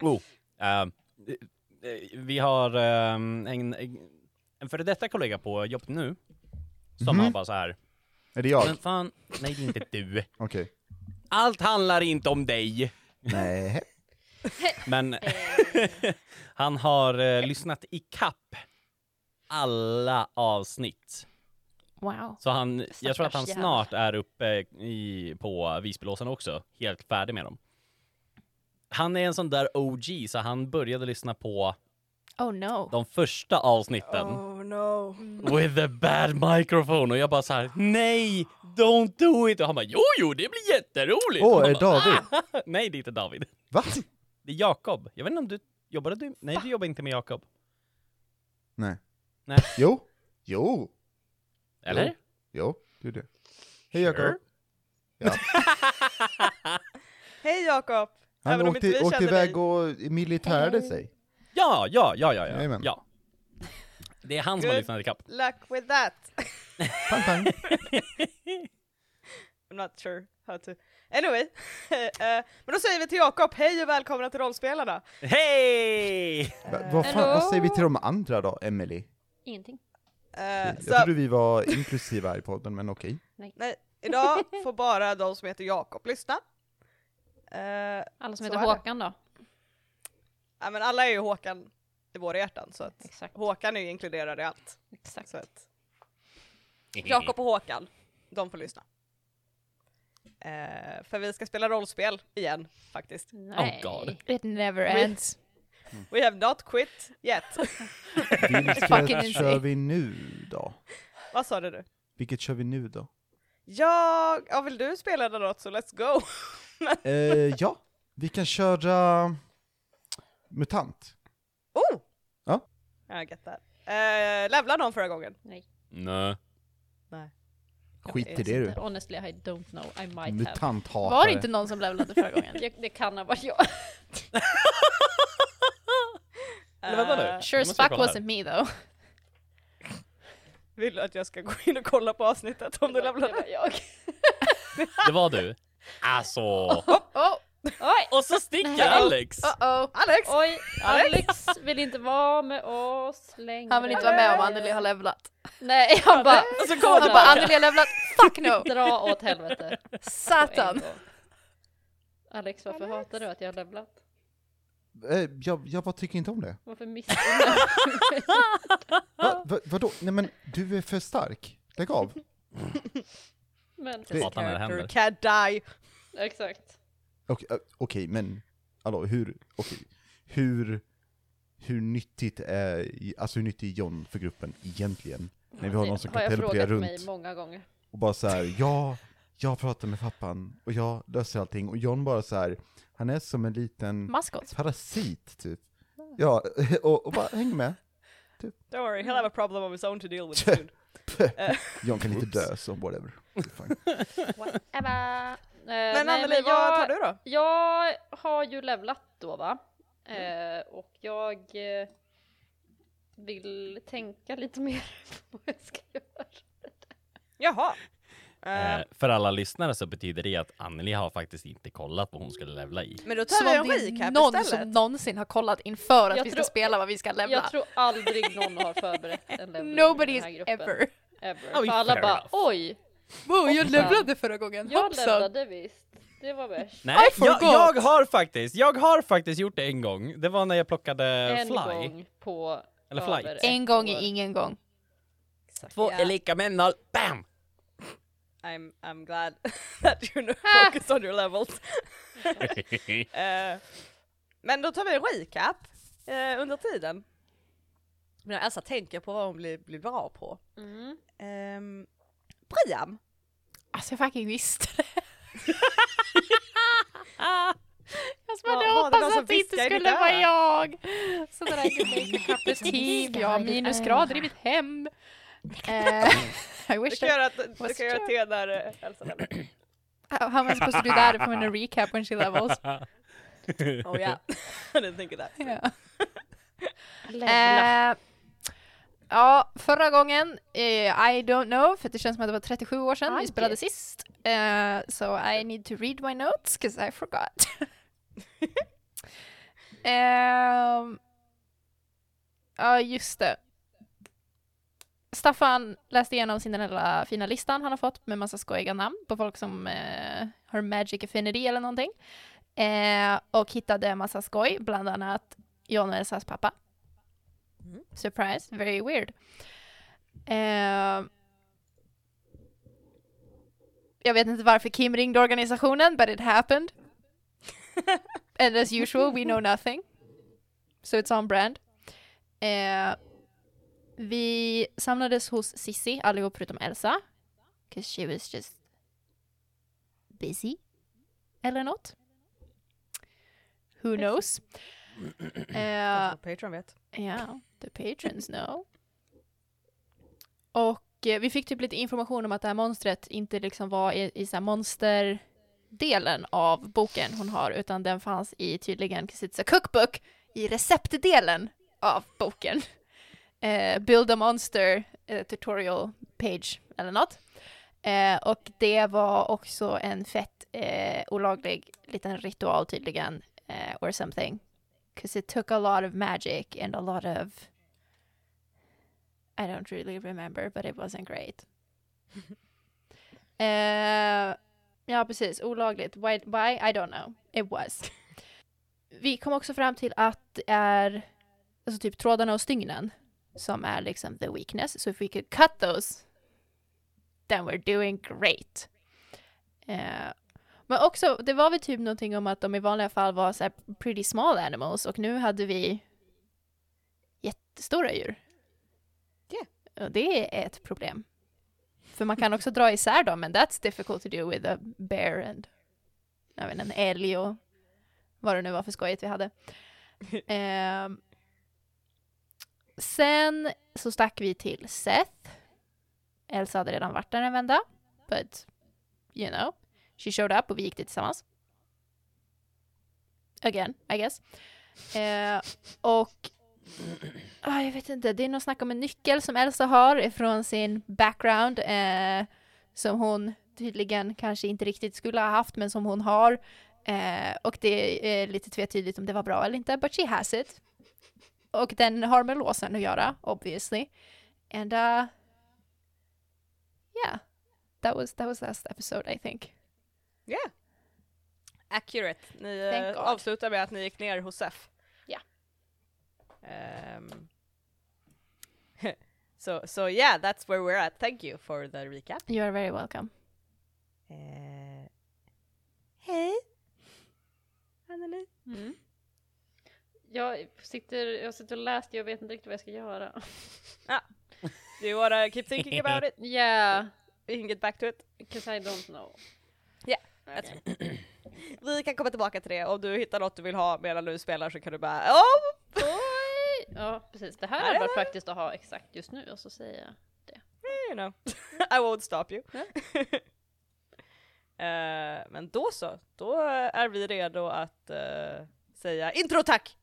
Oh. Eh, eh, vi har eh, en, en före detta kollega på jobbet nu, som Mhm. har bara så här. Är det jag? Men fan, nej det är inte du. Okej. Allt handlar inte om dig. Nej. Men han har eh, lyssnat i kapp alla avsnitt. Wow. Så han, jag tror att han Stackars jävel. snart är uppe i, på Visbylåsen också, helt färdig med dem. Han är en sån där OG, så han började lyssna på Oh no. de första avsnitten Oh no. with a bad microphone och jag bara så här: nej, don't do it! Och han bara, jo, jo, det blir jätteroligt! Åh, Och man är bara, David? "Ah!" nej, det är inte David. Va? Det är Jakob. Jag vet inte om du, jobbade du? Nej, du jobbar inte med Jakob. Nej. Nej. Jo. Jo. Eller? Jo. Du det. Hej Jakob. Sure. Hej Jakob! Han Även om inte åkte, vi åkte känner iväg dig. och militärade sig. Ja, ja, ja, ja, ja. Jajamän. ja. Det är han som har Good. lyssnat ikapp. Luck with that! Pang, pang. I'm not sure how to... Anyway. Eh, men då säger vi till Jakob, hej och välkomna till Rollspelarna! Hej! Va- vad, fan, Hallå? vad säger vi till de andra då, Emily? Ingenting. Eh, Jag så, trodde vi var inklusiva här i podden, men okej. nej, idag får bara de som heter Jakob lyssna. Eh, ja, Alla som Så heter är det. Håkan då. men alla är ju Håkan i våra hjärtan, så att Exakt. Håkan är ju inkluderad i allt. Exakt. Så att Jakob och Håkan, de får lyssna. Eh, för vi ska spela rollspel igen, faktiskt. Nej. God. It never We- ends. We have not quit yet. Vilket Fucking kör insane. vi nu då? Vad sa du nu? Vilket kör vi nu då? Ja, ja, vill du spela den något så let's go! Eh, ja, vi kan köra MUTANT. Oh! Ja. Jag get that. Eh, levlade någon förra gången? Nej. Skit i vet det du. Honestly I don't know. I might have. Mutanthatare. Var det inte någon som levlade förra gången? Jag, det kan ha varit jag. Eller vänta nu. Eh, Sure Nu as måste jag fuck kolla här. wasn't me though. vill du att jag ska gå in och kolla på avsnittet om du Det levlade? var jag. Det var du. Alltså. Oh! Oj! Och så sticker Alex! Oh oh! Alex! Oj, Alex. Alex vill inte vara med oss längre. Han vill inte vara med om Anneli har levlat. Nej, han bara... Och så Han kommer bara tillbaka. Anneli har levlat, fuck no! Dra åt helvete. på en Satan! gång. Alex, varför hatar du att jag har levlat? Eh, jag, jag bara tycker inte om det. Varför missunnar du mig? Va, va, vadå? Nej men, du är för stark. Lägg av. Men, Det- Satan när det händer. Can die! exakt. Okej, eh, okej, men, hallå, hur, okej, hur, hur nyttigt är, alltså hur nyttig är John för gruppen egentligen? När vi har Det någon som Typ. har kan jag teleportera frågat runt mig många gånger. och bara så här, ja, jag pratar med pappan och jag löser allting och John bara så här, han är som en liten Maskot. parasit typ. Ja, och, och bara häng med. Don't worry, he'll have a problem of his own to deal with soon. Eh, John kan inte dö så whatever. Det är fine. Ebba! Men Anneli, vad tar du då? Jag har ju levlat då va? Mm. Eh, och jag eh, vill tänka lite mer på vad jag ska göra. Jaha. Eh, oh. Eh, för alla lyssnare så betyder det att Anneli har faktiskt inte kollat vad hon skulle levla i. men då tar Som vi en om det är recap någon istället. som någonsin har kollat inför att Jag vi ska tror- spela vad vi ska levla. Jag tror aldrig någon har förberett en level i den här Nobody's gruppen. ever. Oh, ever. Ja, För alla fair bara enough. oj, Wow, jag Hoppsan. levlade förra gången, jag hoppsan! levlade visst. Det var värst. Nej, I jag, forgot. jag har faktiskt, jag har faktiskt gjort det en gång. Det var när jag plockade en fly. gång på Eller över flight. ett En gång år. är ingen gång. Två Ja. är lika med noll, bam! I'm, I'm glad that you know focus on your levels. Eh, men då tar vi en recap eh, under tiden. Men Elsa tänker på vad hon blir, blir bra på. Mm. Um, Priam, Alltså jag fucking visste det. Jag som Ja, var hade det någon hoppats som att det inte viskade i ditt skulle öra? vara jag! Sådana där gudinkaperspektiv, jag har minusgrader i mitt hem. Eh, I du wish kan I göra, ett- du What's kan göra true? te när eh, Elsa lever. How, how am I supposed to do that if I'm in a recap when she levels? Oh yeah, I didn't think of that. Yeah. Levla. Eh, ja, förra gången, eh, I don't know, för det känns som att det var 37 år sedan Aj. vi spelade sist. Eh, so I need to read my notes, 'cause I forgot. Ehm, Ja, just det. Staffan läste igenom sin den hela fina listan han har fått med massa skojiga namn på folk som eh, har magic affinity eller någonting. Eh, och hittade massa skoj, bland annat John och Elsas pappa. Mm. Surprise, very weird. Ehm, jag vet inte varför Kim ringde organisationen, but it happened. And as usual, we know nothing. So it's on brand. Eh, vi samlades hos Sissi, allihop förutom Elsa. 'Cause she was just busy. Eller något. Who knows? Eh, Kanske Patreon vet. Ja, the patrons know. Och eh, vi fick typ lite information om att det här monstret inte liksom var i, i så här monsterdelen av boken hon har, utan den fanns i tydligen Kisitsa cookbook i receptdelen av boken. Eh, build a monster eh, tutorial page eller något. Eh, och det var också en fett eh, olaglig liten ritual tydligen, eh, or something. because it took a lot of magic and a lot of I don't really remember, but it wasn't great. Eh, ja, precis. Olagligt. Why, why? I don't know. It was. Vi kom också fram till att det är alltså typ trådarna och stygnen som är liksom the weakness. So if we could cut those then we're doing great. Eh, men också, det var väl typ någonting om att de i vanliga fall var så här pretty small animals och nu hade vi jättestora djur. Ja. Och det är ett problem. För man kan också dra isär dem, men that's difficult to do with a bear and jag vet, inte, en älg och vad det nu var för skojigt vi hade. Ehm. sen så stack vi till Seth. Elsa hade redan varit där en vända, but you know. She showed up och vi gick dit tillsammans. Again, I guess. Eh, och ah, jag vet inte, det är något snack om en nyckel som Elsa har från sin background eh, som hon tydligen kanske inte riktigt skulle ha haft men som hon har. Eh, och det är lite tvetydigt om det var bra eller inte, but she has it. Och den har med låsen att göra, obviously. And uh, yeah, that was, that was last episode I think. Yeah. Accurate. Ni Thank eh, God. avslutar med att ni gick ner hos Sef. Ja. Ehm. so, so yeah, that's where we're at. Thank you for the recap. You are very welcome. Eh, Hej! Anneli. Jag sitter, jag sitter och läser, jag vet inte riktigt vad jag ska göra. Do you wanna keep thinking about it? Yeah, We can get back to it. cause I don't know. Yeah, Okej. Vi kan komma tillbaka till det. Om du hittar något du vill ha medan du spelar så kan du bara oh! Oj! Ja precis, det här Ja, hade det varit var- praktiskt att ha exakt just nu och så säger jag. you know, I won't stop you. Ja. Eh, men då så, då är vi redo att eh, säga intro tack!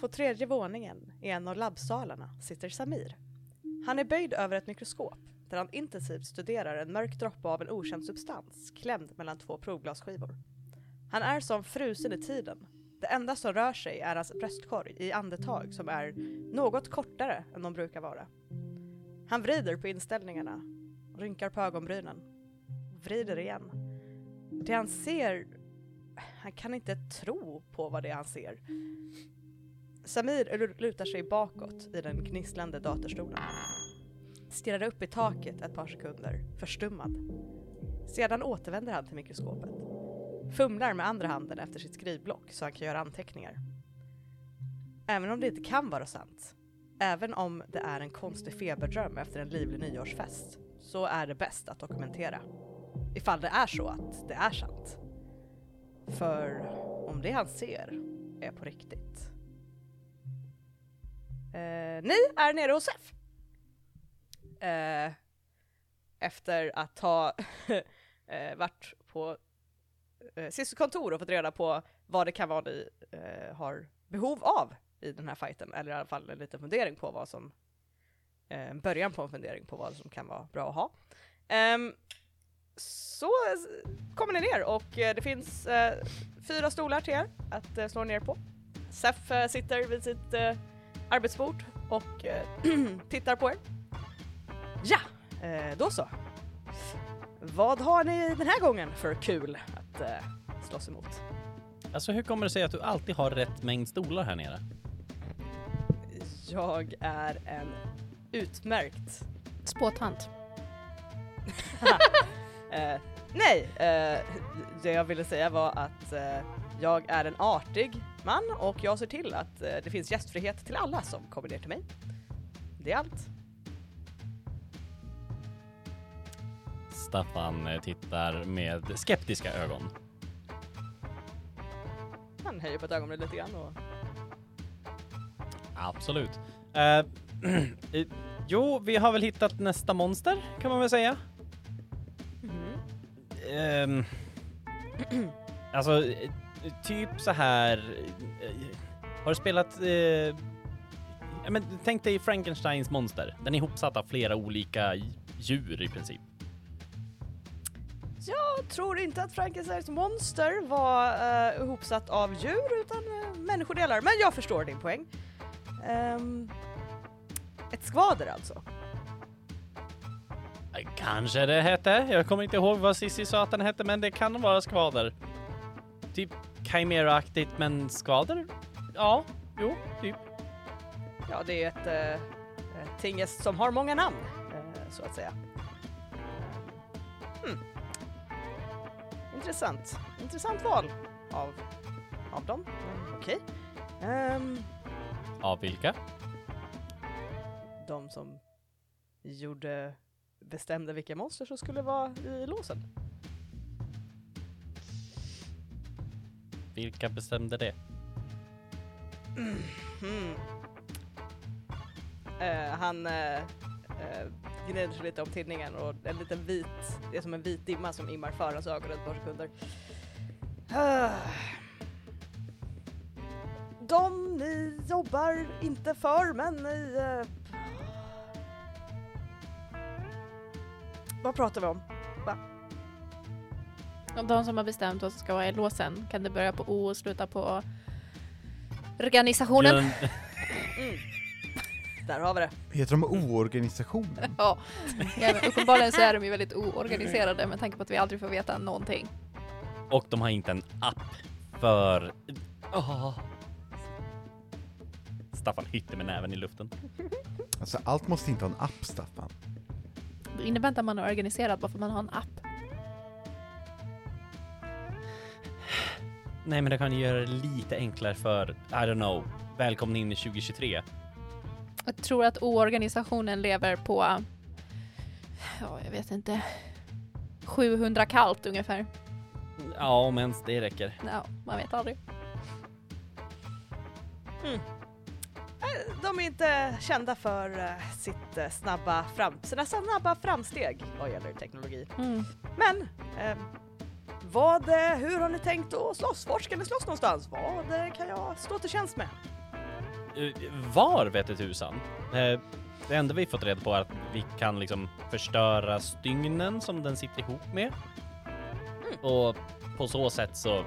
På tredje våningen i en av labbsalarna sitter Samir. Han är böjd över ett mikroskop där han intensivt studerar en mörk droppe av en okänd substans klämd mellan två provglasskivor. Han är som frusen i tiden. Det enda som rör sig är hans bröstkorg i andetag som är något kortare än de brukar vara. Han vrider på inställningarna, rynkar på ögonbrynen, vrider igen. Det han ser... Han kan inte tro på vad det är han ser. Samir lutar sig bakåt i den gnisslande datorstolen. Stirrar upp i taket ett par sekunder, förstummad. Sedan återvänder han till mikroskopet. fumlar med andra handen efter sitt skrivblock så han kan göra anteckningar. Även om det inte kan vara sant, även om det är en konstig feberdröm efter en livlig nyårsfest, så är det bäst att dokumentera. Ifall det är så att det är sant. För om det han ser är på riktigt. Eh, ni är nere hos Sef. Eh, efter att ha eh, varit på eh, Cissus kontor och fått reda på vad det kan vara ni eh, har behov av i den här fighten, eller i alla fall en liten fundering på vad som, eh, en början på en fundering på vad som kan vara bra att ha. Ehm, så eh, kommer ni ner och eh, det finns eh, fyra stolar till er att eh, slå ner på. Sef eh, sitter vid sitt eh, arbetsbord och eh, tittar på er. Ja, eh, då så. Vad har ni den här gången för kul att eh, slåss emot? Alltså hur kommer det sig att du alltid har rätt mängd stolar här nere? Jag är en utmärkt... Spåtant. Eh, nej, eh, det jag ville säga var att eh, jag är en artig man och jag ser till att eh, det finns gästfrihet till alla som kommer ner till mig. Det är allt. Staffan eh, tittar med skeptiska ögon. Han höjer på ett ögonbryn lite grann och... Absolut. Eh, eh, jo, vi har väl hittat nästa monster kan man väl säga. Ehm, alltså, eh, typ så här. eh, har du spelat... eh, ja, men, tänk dig Frankensteins monster. Den är ihopsatt av flera olika djur i princip. Jag tror inte att Frankensteins monster var eh, ihopsatt av djur utan eh, människodelar, men jag förstår din poäng. Ehm, ett skvader alltså. Eh, Kanske det hette. Jag kommer inte ihåg vad Sissi sa att den hette, men det kan vara skvader. Typ Chimera-aktigt, men skvader? Ja, jo, typ. Ja, det är ett eh, eh, tingest som har många namn, eh, så att säga. Hmm. Intressant. Intressant val av, av dem. Mm, Okej. Ehm, Av vilka? de som gjorde, bestämde vilka monster som skulle vara i låsen. Vilka bestämde det? Mm. Eh, han eh, eh, gnider sig lite om tinningen och en liten vit, det är som en vit dimma som immar för hans ögon ett par sekunder. Ah. De ni jobbar inte för men ni... Eh... Vad pratar vi om? Och de som har bestämt vad som ska vara i låsen, kan det börja på O och sluta på organisationen? Grön- Där har vi det. Heter de oorganisationen? Ja, ja men uppenbarligen så är de ju väldigt oorganiserade med tanke på att vi aldrig får veta någonting. Och de har inte en app för... Ah. Staffan hytter med näven i luften. Alltså allt måste inte ha en app, Staffan. Det innebär inte att man är organiserad bara för att man har en app. Nej, men det kan ju göra det lite enklare för, I don't know, välkomna in i 2023. Jag tror att oorganisationen lever på, ja jag vet inte, 700 kallt ungefär. Ja, om ens det räcker. Ja, man vet aldrig. De är inte kända för eh, sitt eh, snabba fram, sina snabba framsteg vad gäller teknologi. Mm. Men, eh, vad, eh, hur har ni tänkt att slåss? Var ska ni slåss någonstans? Vad eh, kan jag stå till tjänst med? Eh, Var vete tusan? Eh, Det enda vi fått reda på är att vi kan liksom förstöra stygnen som den sitter ihop med. Och på så sätt så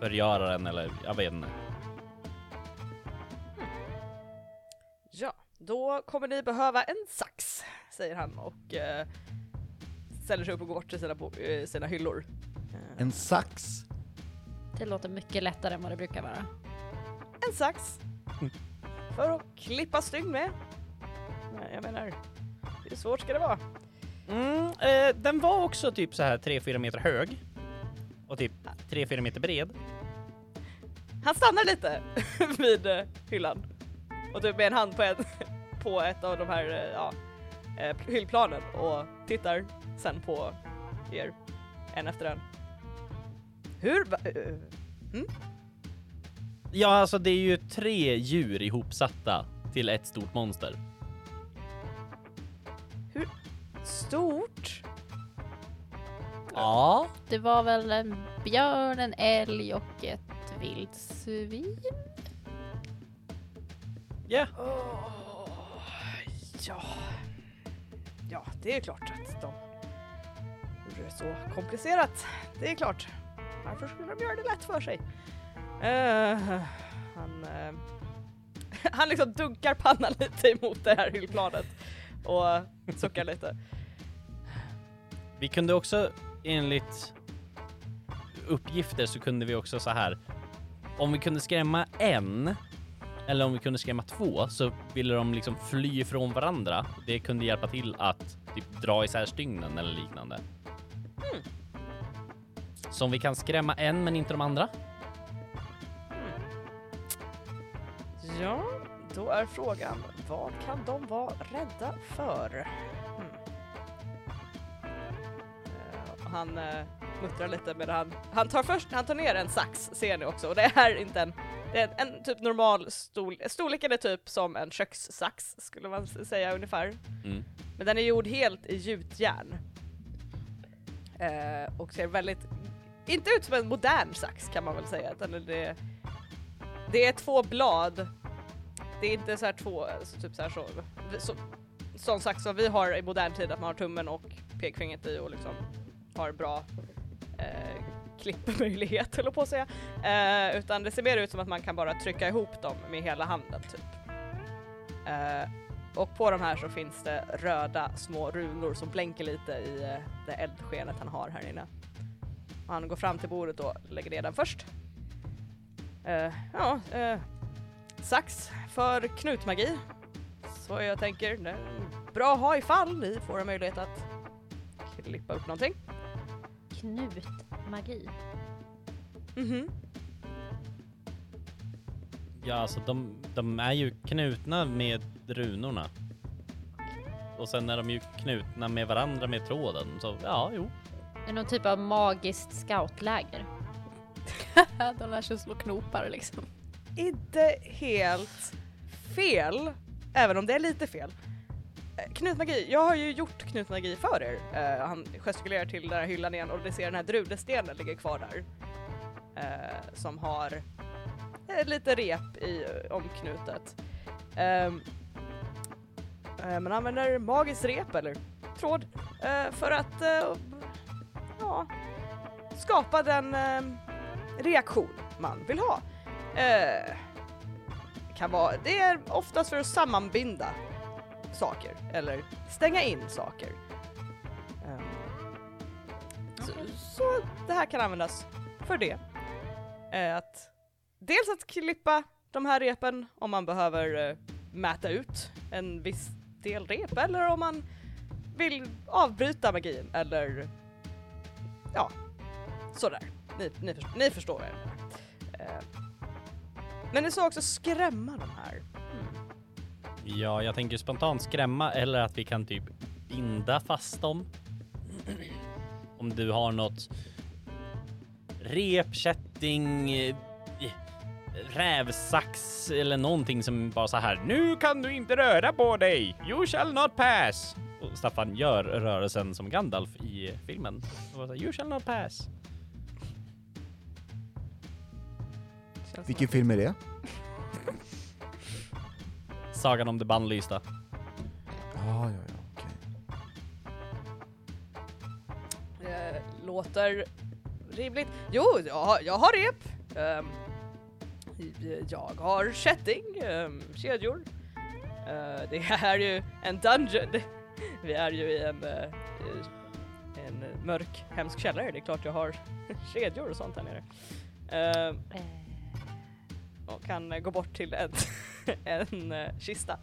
förgöra den eller jag vet inte. Ja, då kommer ni behöva en sax, säger han och eh, ställer sig upp och går bort till sina, bo- eh, sina hyllor. Eh, En sax? Det låter mycket lättare än vad det brukar vara. en sax! För att klippa stygn med. Nej, jag menar, hur svårt ska det vara? Mm, eh, den var också typ så här 3-4 meter hög. och typ 3-4 meter bred. Han stannar lite vid eh, hyllan och typ med en hand på, en, på ett av de här eh, ja, eh, hyllplanen och tittar sen på er en efter en. Hur? va- eh, eh, Ja, alltså det är ju tre djur ihopsatta till ett stort monster. Stort? Ja. Det var väl en björn, en älg och ett vildsvin? Ja. ja. ja, det är klart att de gjorde det så komplicerat. Det är klart. Varför skulle de göra det lätt för sig? Eh, han, eh, han liksom dunkar pannan lite emot det här hyllplanet och suckar lite. Vi kunde också enligt uppgifter så kunde vi också så här. Om vi kunde skrämma en eller om vi kunde skrämma två så ville de liksom fly från varandra. Det kunde hjälpa till att typ dra isär stygnen eller liknande. Så om vi kan skrämma en men inte de andra? Ja, då är frågan vad kan de vara rädda för? Hmm. Eh, och han eh, muttrar lite medan han, han tar först, han tar ner en sax ser ni också och det är inte en, det är en, en typ normal storlek, storleken är typ som en kökssax skulle man s- säga ungefär. Mm. Men den är gjord helt i gjutjärn. Eh, och ser väldigt, inte ut som en modern sax kan man väl säga, utan det, det är två blad. Det är inte så här två, så typ så här så, vi- så, sån sax som vi har i modern tid, att man har tummen och pekfingret i och liksom har bra eh, klippmöjlighet höll jag på att säga. Eh, utan det ser mer ut som att man kan bara trycka ihop dem med hela handen typ. Eh, och på de här så finns det röda små runor som blänker lite i eh, det eldskenet han har här inne. Och han går fram till bordet och lägger ner den först. Eh, ja, eh, sax för knutmagi. Så jag tänker, det är bra att ha ifall ni får en möjlighet att klippa upp någonting. Knutmagi. Mhm. Ja, alltså de, de är ju knutna med runorna. Och sen är de ju knutna med varandra med tråden. Så ja, jo. Är det någon typ av magiskt scoutläger? De lär sig slå knopar liksom. Inte helt fel, även om det är lite fel. Eh, Knutmagi, jag har ju gjort knutmagi för er. Eh, han gestikulerar till den här hyllan igen och ni ser den här drudestenen ligger kvar där. Eh, som har eh, lite rep i eh, omknutet. Ehm, eh, man använder magiskt rep eller tråd eh, för att eh, ja, skapa den eh, reaktion man vill ha. Eh, kan vara, det är oftast för att sammanbinda saker eller stänga in saker. Eh, så, så det här kan användas för det. Eh, att, dels att klippa de här repen om man behöver eh, mäta ut en viss del rep eller om man vill avbryta magin eller ja, sådär. Ni, ni, förstår, ni förstår vad jag menar. Eh, men ni sa också skrämma de här. Ja, jag tänker spontant skrämma eller att vi kan typ binda fast dem. Om du har något rep, kätting, eh, rävsax eller någonting som bara så här. Nu kan du inte röra på dig. You shall not pass. Och Staffan gör rörelsen som Gandalf i filmen. Och bara så här, you shall not pass. Vilken film är det? Sagan om det bannlysta. Ja, ja, ja, okej. Eh, låter rimligt. Jo, jag, har- jag har rep. Ehm, jag har kätting, ehm, kedjor. Eh, det här är ju en dungeon. Vi är ju i en, eh, i en mörk, hemsk källare. Det är klart jag har kedjor och sånt här nere. Ehm, Eh, och kan eh, gå bort till en, en eh, kista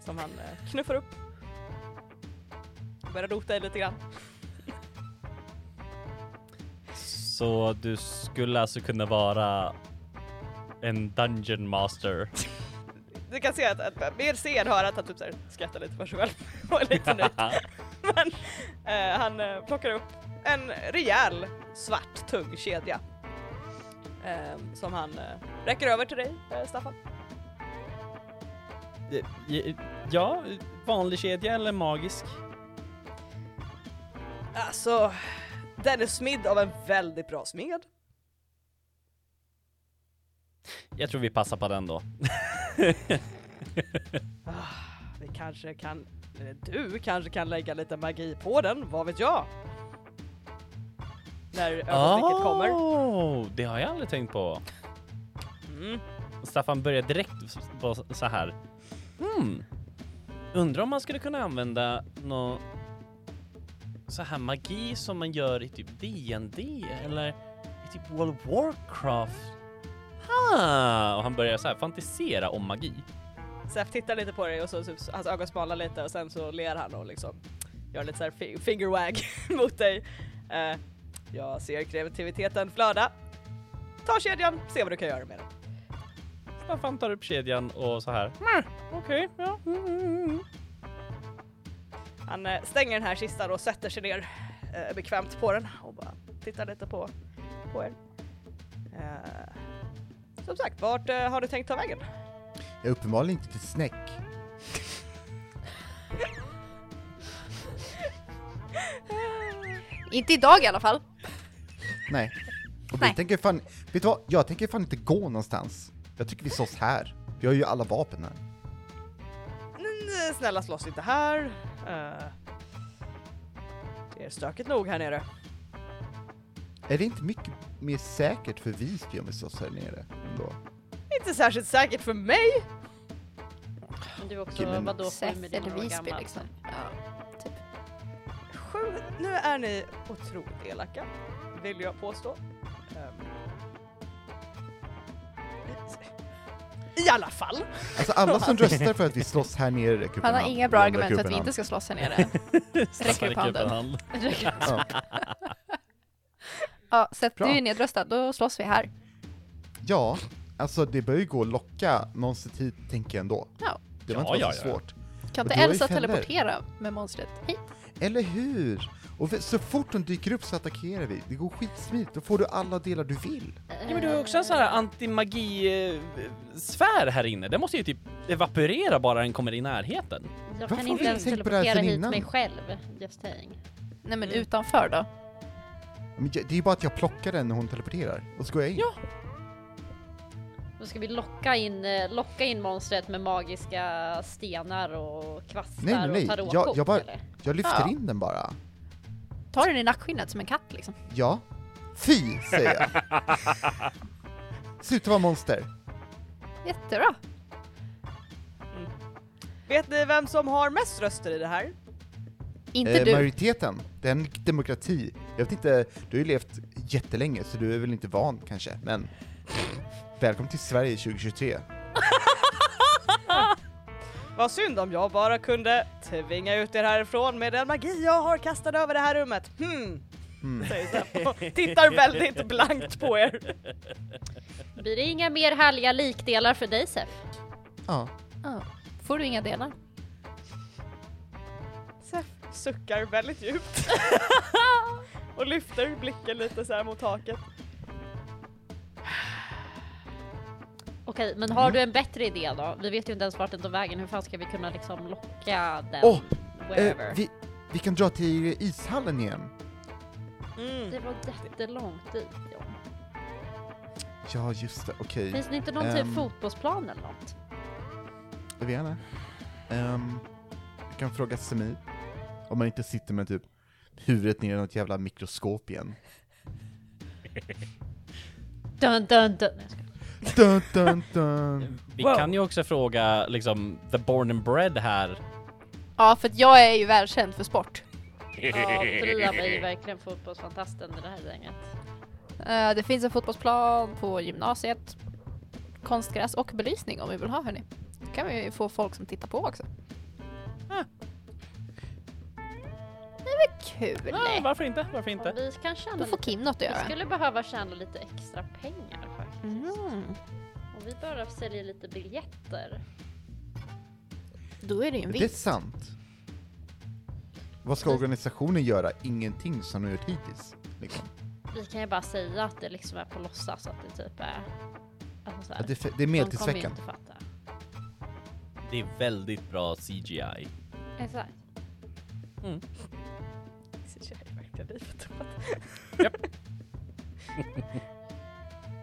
som han eh, knuffar upp. Börjar rota i lite grann. Så du skulle alltså kunna vara en dungeon master. Du kan se att, att mer ser hör att han typ så här skrattar lite för sig själv och är lite nöjd. Men eh, han eh, plockar upp en rejäl svart tung kedja. Eh, som han eh, räcker över till dig eh, Staffan. ja, vanlig kedja eller magisk? Alltså, den är smidd av en väldigt bra smed. Jag tror vi passar på den då. Vi kanske kan, eller du kanske kan lägga lite magi på den, vad vet jag? När ögonblicket Ah. kommer. Oh, det har jag aldrig tänkt på. Mm. Staffan börjar direkt på så här. Hmm. Undrar om man skulle kunna använda nå så här magi som man gör i typ D&D eller i typ World of Warcraft. Ah, och han börjar så här fantisera om magi. Sef tittar lite på dig och så, så hans ögon smalnar lite och sen så ler han och liksom gör lite så här fi- finger wag mot dig. Eh, jag ser kreativiteten flöda. Ta kedjan, se vad du kan göra med den. Staffan tar upp kedjan och så här. "Meh, Okej, ja. mm, mm, mm." Han eh, stänger den här kistan och sätter sig ner eh, bekvämt på den och bara tittar lite på, på er. Eh, Som sagt, vart eh, har du tänkt ta vägen? Jag är uppenbarligen inte till snäck. Inte idag i alla fall. Nej. Och Nej. vi tänker fan, vet du vad? Jag tänker fan inte gå någonstans. Jag tycker vi slåss här. Vi har ju alla vapen här. Mm, Snälla slåss inte här. Eh, Det är stökigt nog här nere. Är det inte mycket mer säkert för Visby om vi slåss här nere ändå? Inte särskilt säkert för mig. Men du är också Okej, men- vadå sju Seth eller miljoner år Visby gammal? liksom. Ja. Sju, nu är ni otroligt elaka, vill jag påstå. Ehm. I alla fall. Alltså alla som röstar för att vi slåss här nere räcker upp Han en har hand. inga bra Jag argument för räcker att vi upp en inte ska slåss här nere. Staffan upp räcker upp en handen. hand. hand. Ja. Ja, Seth, du Bra. är ju nedröstad, då slåss vi här. ja, alltså det bör ju gå att locka någon sitt hit tänker jag ändå. Ja. Det var Ja, inte ja, ja, så ja. svårt. Kan Och inte du har ju Elsa fällor. teleportera med monstret hit? Eller hur? Och så fort de dyker upp så attackerar vi. Det går skitsmidigt, då får du alla delar du vill. Ja, men du har också en sån här antimagi-sfär här inne. Den måste ju typ evaporera bara den kommer i närheten. Jag Varför kan har inte vi ens tänkt på det här teleportera sedan hit innan? mig själv. Just saying. Nej men utanför då? Men jag- det är ju bara att jag plockar den när hon teleporterar, och så går jag in. Ja. Då ska vi locka in, eh, locka in monstret med magiska stenar och kvastar Nej, nej, nej. och tarotkort Jag- jag bara- eller? Jag lyfter Ja. in den bara. Tar den i nackskinnet som en katt liksom. Ja. Fy, säger jag. Sluta vara monster. Jättebra! Vet ni vem som har mest röster i det här? Inte Eh, du. majoriteten, det är en demokrati. Jag vet inte, du har ju levt jättelänge så du är väl inte van kanske, men välkommen till Sverige 2023. Vad synd om jag bara kunde tvinga ut er härifrån med den magi jag har kastat över det här rummet. Hmm. Mm. Säger Sef och tittar väldigt blankt på er. Blir det inga mer härliga likdelar för dig Sef? Ja. Eh, Ja. Får du inga delar? Sef suckar väldigt djupt. och lyfter blicken lite så här mot taket. Okej, men Mm. har du en bättre idé då? Vi vet ju inte ens vart den tar vägen. Hur fan ska vi kunna liksom locka den? Åh, wherever? Eh, vi, vi kan dra till ishallen igen. Mm. Det var jättelångt dit. Ja. Ja, just det, okej. Finns det inte någon Ehm. typ fotbollsplan eller något? Jag vet inte. Ehm, vi kan fråga Semir. Om man inte sitter med typ huvudet ner i något jävla mikroskop igen. Dun, dun, dun. Nej, jag skojar. Dun, dun, dun. Vi Wow. kan ju också fråga liksom the born and bred här. Ja, för att jag är ju välkänd för sport. Ja, Bria var ju verkligen fotbollsfantasten i det här gänget. Eh, det finns en fotbollsplan på gymnasiet. Konstgräs och belysning om vi vill ha hörni. Då Ah. kan vi ju få folk som tittar på också. Kul! Ja, varför inte? Varför Och inte? vi kan tjäna Då får lite. Kim något att Vi göra. skulle behöva tjäna lite extra pengar faktiskt. Mm. Och vi börjar sälja lite biljetter. Då är det ju en Det är vinst. sant. Vad Alltså- ska organisationen göra? Ingenting som de gjort hittills. Liksom. Vi kan ju bara säga att det liksom är på låtsas att det typ är... Alltså så här, Att det, är- det är de kommer ju medeltidsveckan. inte fatta. Det är väldigt bra CGI. Exakt.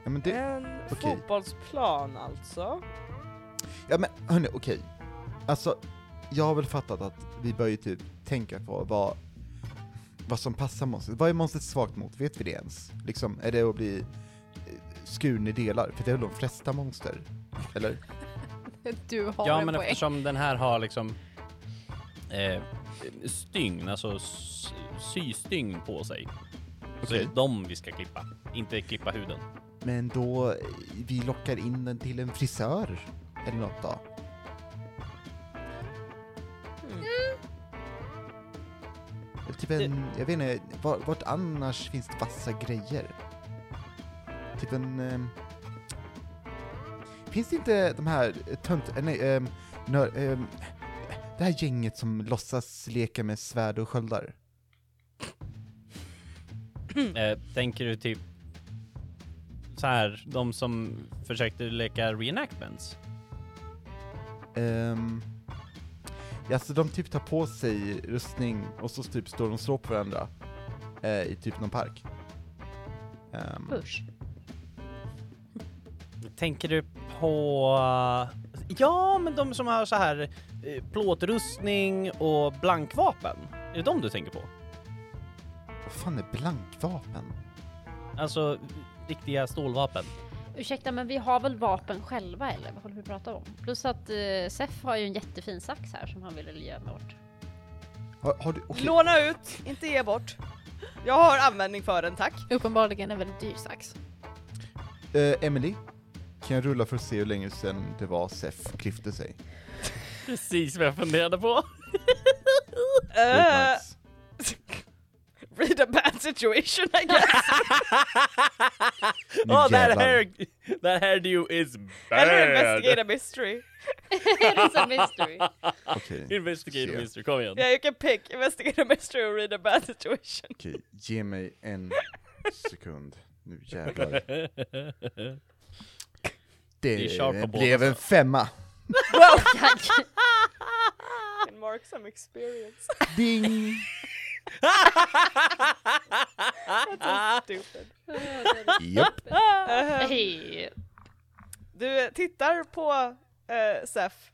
Ja men, det, En okej. fotbollsplan alltså. ja, men hörni, okej. Alltså, jag har väl fattat att vi bör ju typ tänka på vad, vad som passar monstret. Vad är monstret svagt mot? Vet vi det ens? Liksom, är det att bli eh, skuren i delar? För det är väl de flesta monster? Eller? Du har Ja, en men poäng. eftersom den här har liksom eh, stygn, alltså s- systygn på sig. Så är Okej. det dem vi ska klippa, inte klippa huden. Men då, eh, vi lockar in den till en frisör eller något då. Eller Typ en, jag vet inte, var, vart annars finns det vassa grejer? Typ en... ehm, finns det inte de här eh, tönt... eh, Nej, ehm, nör, ehm, det här gänget som låtsas leka med svärd och sköldar? Eh, tänker du typ så här, de som försökte leka reenactments? Um, ja, så de typ tar på sig rustning och så typ står de och slår på varandra eh, i typ någon park. Ehm, Push. Tänker du på... eh, Ja, men de som har så här eh, plåtrustning och blankvapen. Är det de du tänker på? vad fan är blankvapen? Alltså riktiga stålvapen. Ursäkta men vi har väl vapen själva eller vad håller vi på att prata om? Plus att eh, Sef har ju en jättefin sax här som han ville ge bort. Har, har du, okej, Låna ut, inte ge bort. Jag har användning för den tack. Uppenbarligen en väldigt dyr sax. eh, Emily, kan jag rulla för att se hur länge sedan det var Sef klippte sig? Precis vad jag funderade på. Eh, Great minds. read a bad situation I guess. Nu Oh, that jävlar. hair, that hairdo is Eller investigate bad. a mystery. It's a mystery. Okej, Ah. Investigate Se. Mr. Kom igen. Yeah you can pick investigate a mystery och read a bad situation. okej, ge mig en sekund. Nu jävlar. är sharp på båda Det blev en femma. Can mark some experience. Ding! Stupid. Japp. Eh, Hej. Du eh, tittar på eh, Sef.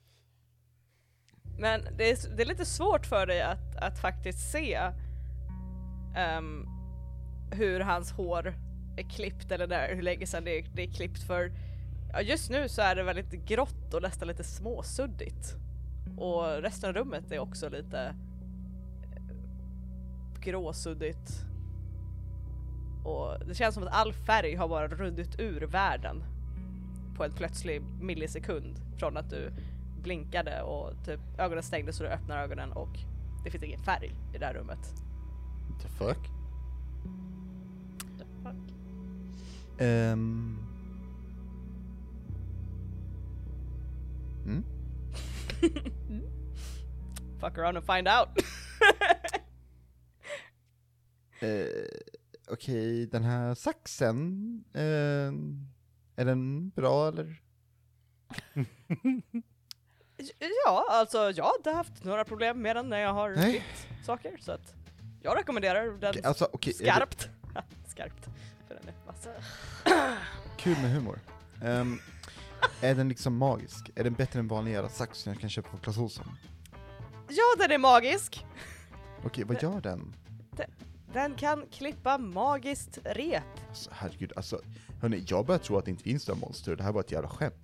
Men det är, s- det är lite svårt för dig att, att faktiskt se ehm, hur hans hår är klippt eller där, hur länge sedan det är, det är klippt för ja, just nu så är det väldigt grått och nästan lite småsuddigt. Och resten av rummet är också lite eh, gråsuddigt. Och det känns som att all färg har bara runnit ur världen på en plötslig millisekund från att du blinkade och typ ögonen stängdes och du öppnar ögonen och det finns ingen färg i det här rummet. The fuck? Ehm. Mm? Fuck around and find out! Eh, Okej, den här saxen, ehm, är den bra eller? ja, alltså jag har inte haft några problem med den när jag har Nej. klippt saker så att jag rekommenderar den Okej, Alltså okej, är det skarpt. skarpt. För den är massa. kul med humor. Ehm, är den liksom magisk? Är den bättre än vanliga jävla sax som jag kan köpa på Clas Ohlson? Ja, den är magisk! Okej, vad gör den? Den kan klippa magiskt rep. Alltså, herregud, alltså hörni, jag börjar tro att det inte finns några monster, det här var ett jävla skämt.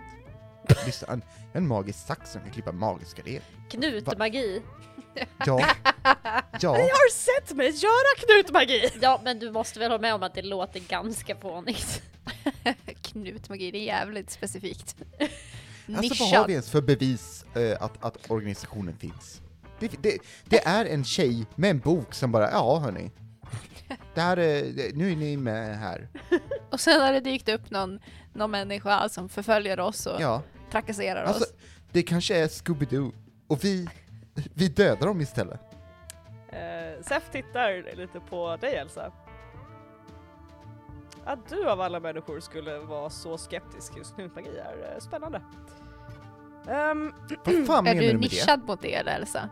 Lyssna, en, en magisk sax som kan klippa magiska rep. Knutmagi. Ja. Ja. Har sett mig göra knutmagi! Ja men du måste väl hålla med om att det låter ganska fånigt. Knutmagi, det är jävligt specifikt. Alltså vad har Nischad. vi ens för bevis eh, att, att organisationen finns? Det, det, det är en tjej med en bok som bara, ja hörni. Det här är, det- nu är ni med här. Och sen har det dykt upp någon, någon människa som förföljer oss och Ja, trakasserar alltså oss. det kanske är Scooby-Doo och vi, vi dödar dem istället. Eh, Sef tittar lite på dig Elsa. Att du av alla människor skulle vara så skeptisk just nu magi är eh, spännande. Ehm, Vad fan Är menar du du med det? nischad mot det eller Elsa?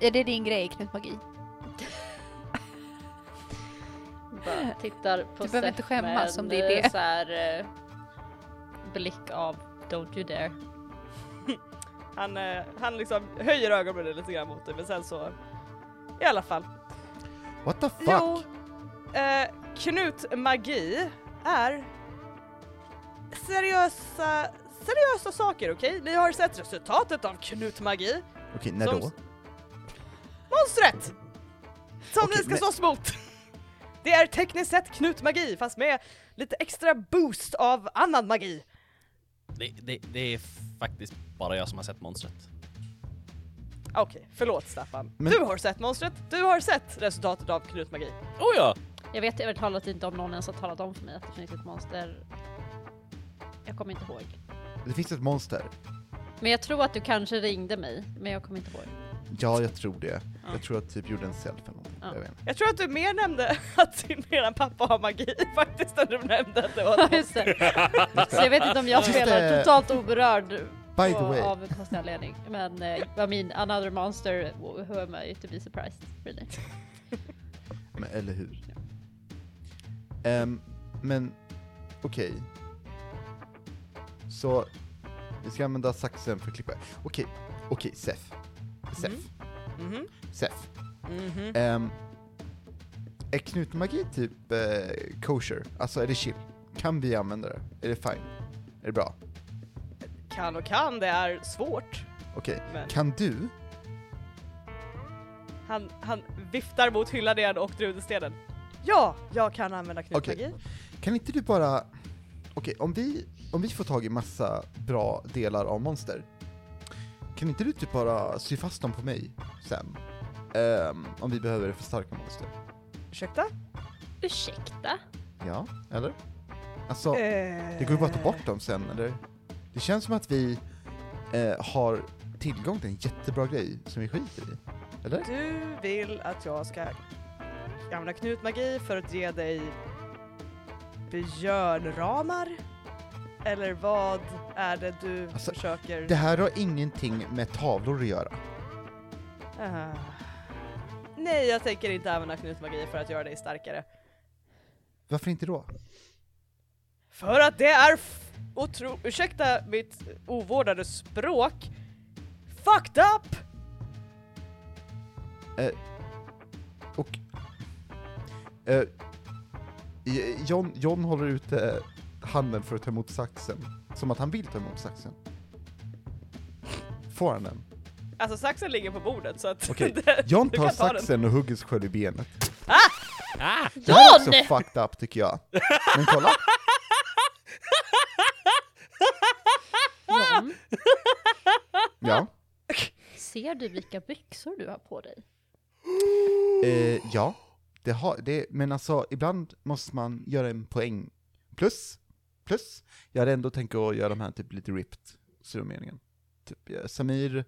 Är det din grej, Knut Magi? Bara tittar på Du behöver Seth inte skämmas med om det är en, det. Så här, eh, blick av don't you dare. han, eh, han liksom höjer ögonbrynen lite grann mot dig men sen så i alla fall. What the fuck? Jo, eh, Knut Magi är seriösa, seriösa saker okej? Ni har sett resultatet av Knut Magi. Okej, när Som- då? Monstret! Som Okej, ni ska men- slåss mot! Det är tekniskt sett Knut Magi fast med lite extra boost av annan magi. Det, det, det är faktiskt bara jag som har sett monstret. Okej, förlåt Staffan. Men- Du har sett monstret, du har sett resultatet av Knut Magi. Oh ja! Jag vet övertalat inte om någon ens har talat om för mig att det finns ett monster. Jag kommer inte ihåg. Det finns ett monster. Men jag tror att du kanske ringde mig, men jag kommer inte ihåg. Ja, jag tror det. Ja. Jag tror att typ gjorde en selfie eller någonting. Ja. Jag vet inte. Jag tror att du mer nämnde att din eran pappa har magi faktiskt än du nämnde att det var ett monster. Just det. Så jag vet inte om jag Just spelar det. totalt oberörd By the på- way, av konstig anledning. Men eh, I mean, another monster, who am I to be surprised? Really? men, eller hur? Ehm, men okej. Så vi ska använda saxen för att klippa. Okej, okej, Sef. Sef. Mm. Mhm, Sef. mhm. Ehm, är knutmagi typ eh, kosher? Alltså är det chill? Kan vi använda det? Är det fine? Är det bra? Kan och kan, det är svårt. Okej. Men- Kan du? Han, han viftar mot hyllan igen och drudestenen. Ja, jag kan använda Knut Okej. Magi. Kan inte du bara... Okej, om, vi, om vi får tag i massa bra delar av monster, kan inte du typ bara sy fast dem på mig sen? Ehm, om vi behöver det för starka monster. Ursäkta? Ursäkta? Ja, eller? Alltså, det Det går ju bara att ta bort dem sen, eller? Det känns som att vi eh, har tillgång till en jättebra grej som vi skiter i. Eller? Du vill att jag ska använda knutmagi för att ge dig björnramar? Eller vad är det du Alltså, försöker... Det här har ingenting med tavlor att göra. Ah. Nej, jag tänker inte använda knutmagi för att göra dig starkare. Varför inte då? För att det är f- otro... Ursäkta mitt ovårdade språk. Fucked up! Och... Eh, J- John, John håller ut eh, handen för att ta emot saxen. Som att han vill ta emot saxen. Får han den? Alltså saxen ligger på bordet så att... Okej, det- John du tar kan ta den. saxen och hugger sig själv i benet. Ah! Det här är också fucked up tycker jag. Men kolla. Någon? Ja. Ser du vilka byxor du har på dig? Eh, ja. Det har, det, men alltså, ibland måste man göra en poäng. Plus, plus, jag hade ändå tänkt att göra de här typ lite ripped, så det var meningen. Typ, eh, Samir,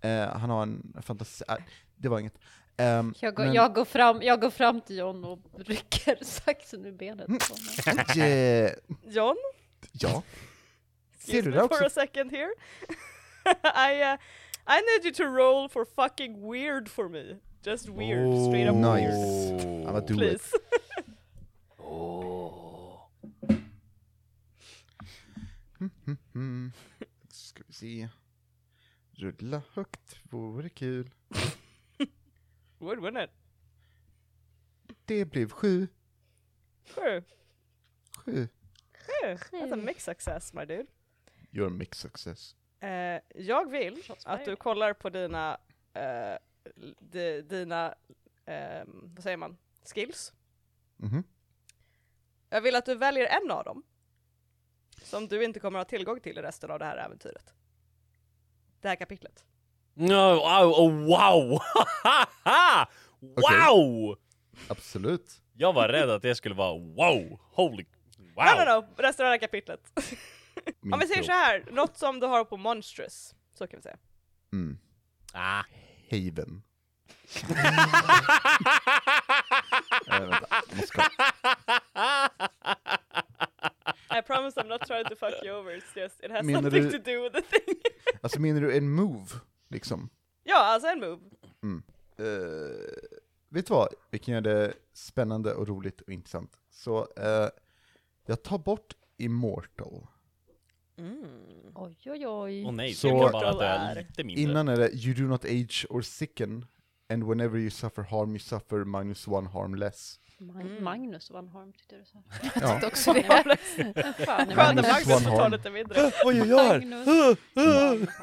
eh, han har en fantasi, äh, det var inget. Ehm, Jag går, men- jag, går fram, jag går fram till John och rycker saxen ur benet på honom. Eh, John, ja. Ser excuse du me det for också? a second here. I, uh, I need you to roll for fucking weird for me. Just weird, straight up Oh, weird. nice. I'ma do it. Please. Mm. Ska vi se. Rulla högt, vore kul. Would win it. Det blev sju, Sure. sju. Yeah, that's a mixed success my dude. You're a mixed success. Eh, jag vill Shots att du fired. kollar på dina, eh, di- dina, ehm, vad säger man, skills. Mhm. Jag vill att du väljer en av dem. Som du inte kommer ha tillgång till i resten av det här äventyret. det här kapitlet. No, wow, oh, wow! wow! Absolut. Jag var rädd att det skulle vara wow, holy, wow! Nej, nej, nej, resten av det här kapitlet. Min Om vi säger tro. så här, något som du har på Monstrous, så kan vi säga. Mm. Ah. Haven. Eh, vänta, jag måste kolla. I promise I'm not trying to fuck you over, it's just it has Menar something du- to do with the thing. alltså menar du en move, liksom? ja, alltså en move. Eh, vet du vad? Vi kan göra det spännande och roligt och intressant. Så eh, jag tar bort Immortal. Oj, oj, oj. Åh nej, Så- så jag bara Portal dö är- lite mindre. Innan är det You do not age or sicken, and whenever you suffer harm you suffer minus one harm less. Mag- Magnus Van Harm tyckte du sa. Ja. Också det. Fan, det var Magnus Skönt att Magnus får ta Swanholm. lite mindre. Vad jag gör? Magnus.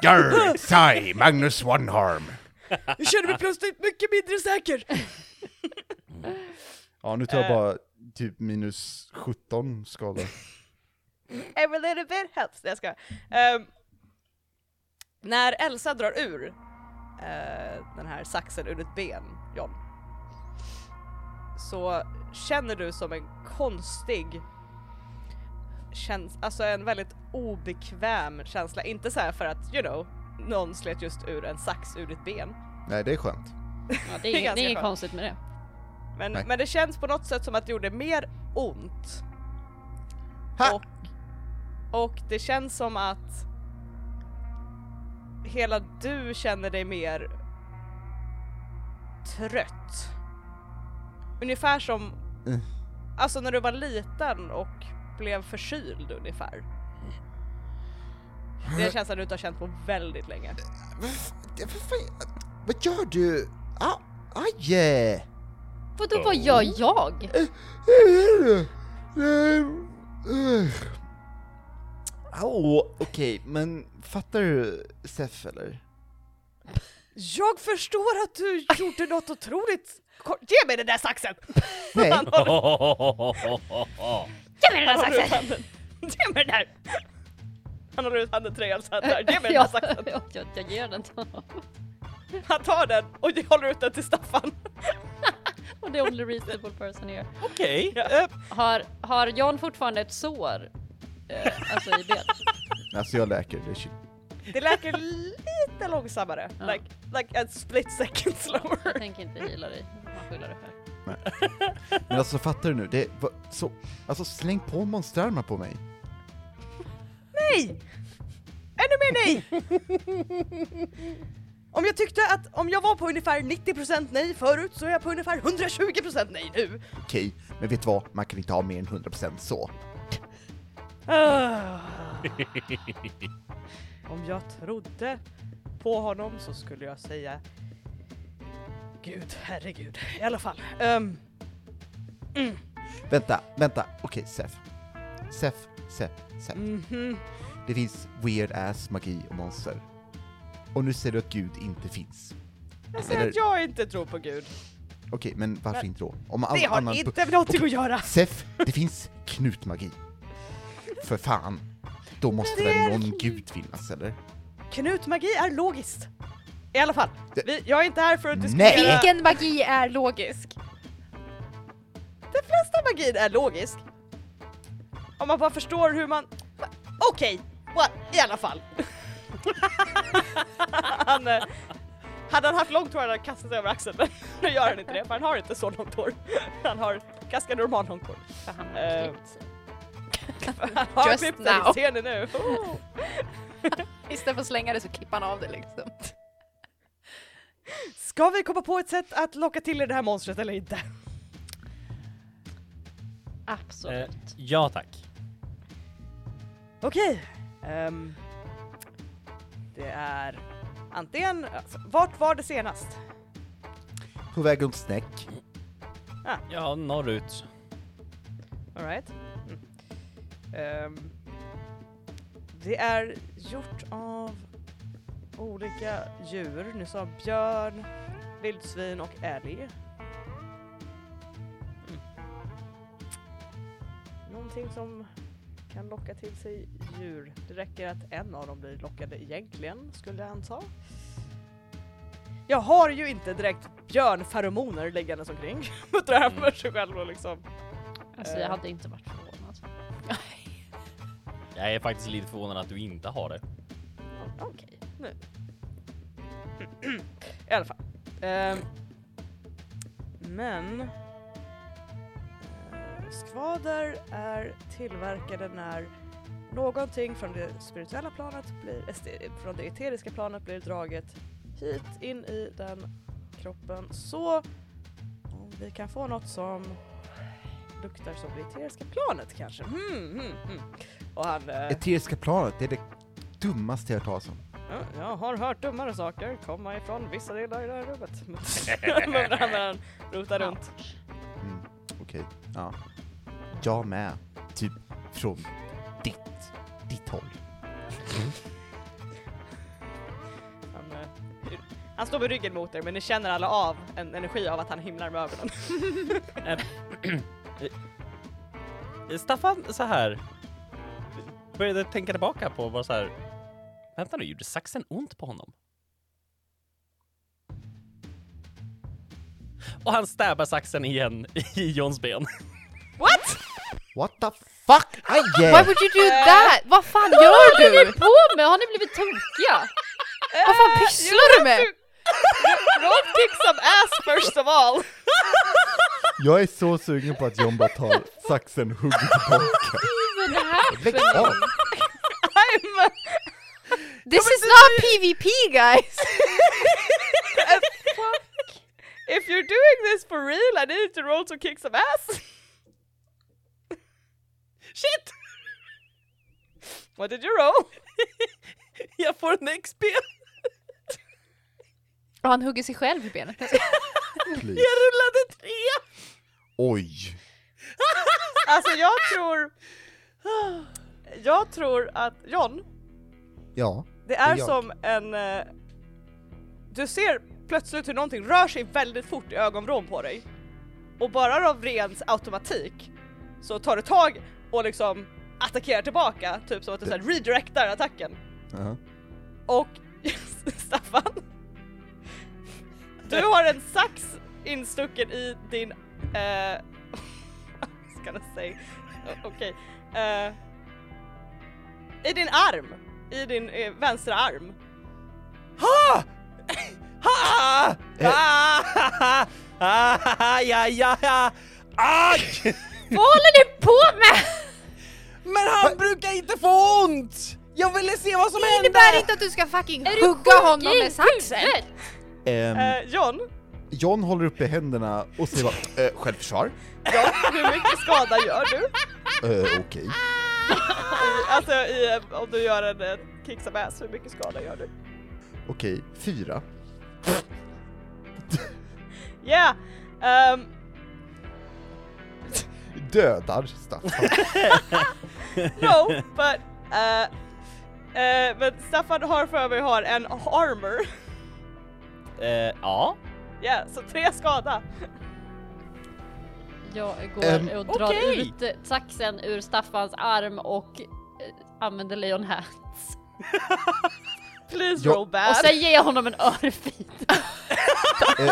Grr, sigh, Magnus one harm. Jag känner mig plötsligt mycket mindre säker! Ja, nu tar jag Eh. bara typ minus 17 skada. Every little bit helps. Nej, Jag ska. Um, när Elsa drar ur eh, den här saxen ur ett ben, John, så känner du som en konstig käns- alltså en väldigt obekväm känsla. Inte så här för att, you know, någon slet just ur en sax ur ditt ben. Nej, det är skönt. Ja, det är inget, ganska det är inget skönt. konstigt med det. Men, Nej. men det känns på något sätt som att det gjorde mer ont. Ha! Och, och det känns som att hela du känner dig mer trött. Ungefär som Mm. alltså när du var liten och blev förkyld ungefär. Det är en känsla du inte har känt på väldigt länge. Vad gör du? Ah, Au, aj! eh. Vadå, vad gör jag? Au, okej, men fattar du Sef eller? Jag förstår att du gjorde något otroligt Ko- Ge mig den där saxen! Nej. Han håller- Ge mig den där Han håller ut saxen! handen. Ge mig den där! Han håller ut handen till dig alltså, Elsa, där. Ge mig den där Ja, saxen! jag, jag, jag ger den till honom. Han tar den och håller ut den till Staffan. Och det är only reasonable person here. Okej. Har, har John fortfarande ett sår? Eh, alltså i ben? Alltså jag läker, det är shit. Det läker lite långsammare. Ja. Like, like a split second Jag slower. tänker inte heala dig, man skyller det själv. Men alltså fattar du nu? Det var så... Alltså släng på monsterarmar på mig. Nej! Ännu mer nej! Om jag tyckte att om jag var på ungefär 90% nej förut så är jag på ungefär 120% nej nu. Okej, men vet du vad? Man kan inte ha mer än 100% så. Ah. Om jag trodde på honom så skulle jag säga Gud, herregud. I alla fall. Ehm, Vänta, vänta, okej Sef. Sef, Sef, Sef. mhm. Det finns weird ass magi och monster. Och nu säger du att Gud inte finns. Jag säger att jag inte tror på Gud. Okej, men varför inte då? Om all Det har annan- inte med någonting att göra. Sef, det finns knutmagi. För fan. Då måste väl någon gud finnas eller? Knutmagi är logiskt. I alla fall, Det- vi, jag är inte här för att Nej. diskutera... Vilken magi är logisk? Den flesta magin är logisk. Om man bara förstår hur man... Va? Okej, what? i alla fall. han, eh, hade han haft långt hår hade han kastat sig över axeln, men nu gör han inte det för han har inte så långt hår. Han har ganska normalt långt hår. För han har Eh. klippt sig. Han har Just klippt sig, now. ser ni nu? Oh. Istället för att slänga det så klipper han av det liksom. Eh. Ska vi komma på ett sätt att locka till er det här monstret eller inte? Eh, Absolut. ja tack. Okej. ehm, det är antingen... Alltså, vart var det senast? På väg runt snäck. Ja, norrut. Alright. Mm. Ehm, det är gjort av olika djur. Nu sa björn, vildsvin och älg. Mm. Någonting som kan locka till sig djur. Det räcker att en av dem blir lockade egentligen, skulle jag anta. Jag har ju inte direkt björnferomoner liggandes omkring. Muttrar han för sig själv och liksom. Alltså Eh. jag hade inte varit förvånad. Jag är faktiskt lite förvånad att du inte har det. Okej, nu. I alla fall. Ehm, men... eh, Skvader är tillverkade när någonting från det spirituella planet blir, eh, ste- från det eteriska planet blir draget hit in i den kroppen. Så om vi kan få något som luktar som det eteriska planet kanske. Hmm, hmm, hmm. Och han... eh, Eteriska planet, det är det dummaste jag har hört talas om. Ja, jag har hört dummare saker komma ifrån vissa delar i det här rummet. Mumlar han när han rotar runt. Mm, Okej, ja. Jag med. Typ från ditt, ditt håll. Han, eh, han står med ryggen mot er men ni känner alla av en energi av att han himlar med ögonen. Eh, Staffan, så här. Började tänka tillbaka på bara så här. Vänta nu, gjorde saxen ont på honom? Och han stabbar saxen igen i Johns ben. What the fuck? Aj! Why would you do that? Vad fan gör du? På mig, har ni blivit tokiga? Vad fan pysslar du med? Rob kicks some ass first of all! Jag är så sugen på att John bara tar saxen och hugger tillbaka. Men det här Lägg av! I'm This is not PVP guys! If you're doing this for real I need you to roll to kick some ass! Shit! What did you roll? Jag får en XP! Och han hugger sig själv i benet. Please. Jag rullade tre! Oj! Alltså jag tror... Jag tror att John, Ja, det är jag. som en... eh, Du ser plötsligt hur någonting rör sig väldigt fort i ögonvrån på dig. Och bara av ren automatik så tar du tag och liksom attackerar tillbaka, typ som att du så här redirectar attacken. uh Och Staffan, du har en sax instucken i din... Uh, ska jag säga? Okej. eh, I din arm. I din eh, vänstra arm. Ha! Ha! Eh. Ah! Ah! Ja, ja, ja! Ah, Aj! Vad håller ni på med? Men han brukar inte få ont! Jag ville se vad som Det innebär inte att du ska fucking Är du hugga sjuk honom i med saxen! huvudet? Eh, John, John håller uppe händerna och säger bara eh, självförsvar. hur mycket skada gör du? Eh, Okej. I, alltså i, eh, om du gör en eh, kick some ass, hur mycket skada gör du? Okej, fyra. Yeah! ehm, Dödar Staffan. No, but... eh, eh, men Staffan har för mig har en armor. Eh, ja. Ja, så tre skada. Jag går Ehm, och drar okej. ut eh, saxen ur Staffans arm och eh, använder Leon här. Please Ja. roll bad. Och sen ger jag honom en örfil. Eh,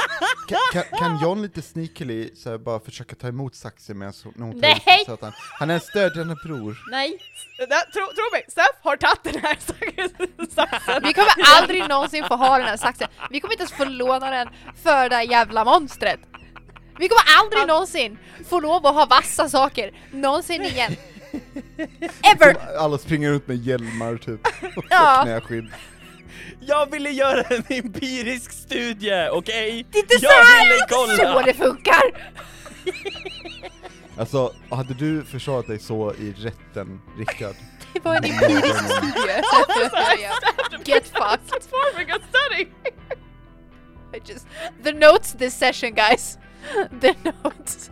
kan, kan, kan John lite sneakily så här, bara försöka ta emot saxen medan hon- när hon tar ut den Nej! så att han, han är en stödjande bror. Nej, Där, tro, tro mig, Steph har tagit den här saxen. Vi kommer aldrig någonsin få ha den här saxen. Vi kommer inte ens få låna den för det här jävla monstret. Vi kommer aldrig någonsin få lov att ha vassa saker någonsin igen. Ever! Alla springer runt med hjälmar typ, och Ja. knäskydd. Jag ville göra en empirisk studie, okej? Det är inte så Jag här, det ville är inte så kolla! det funkar! Alltså, hade du försvarat dig så i rätten, Rickard? Det var en empirisk studie. så att jag Alltså, börjar. Get fucked. Farming and study! I just, the notes this session guys. The notes.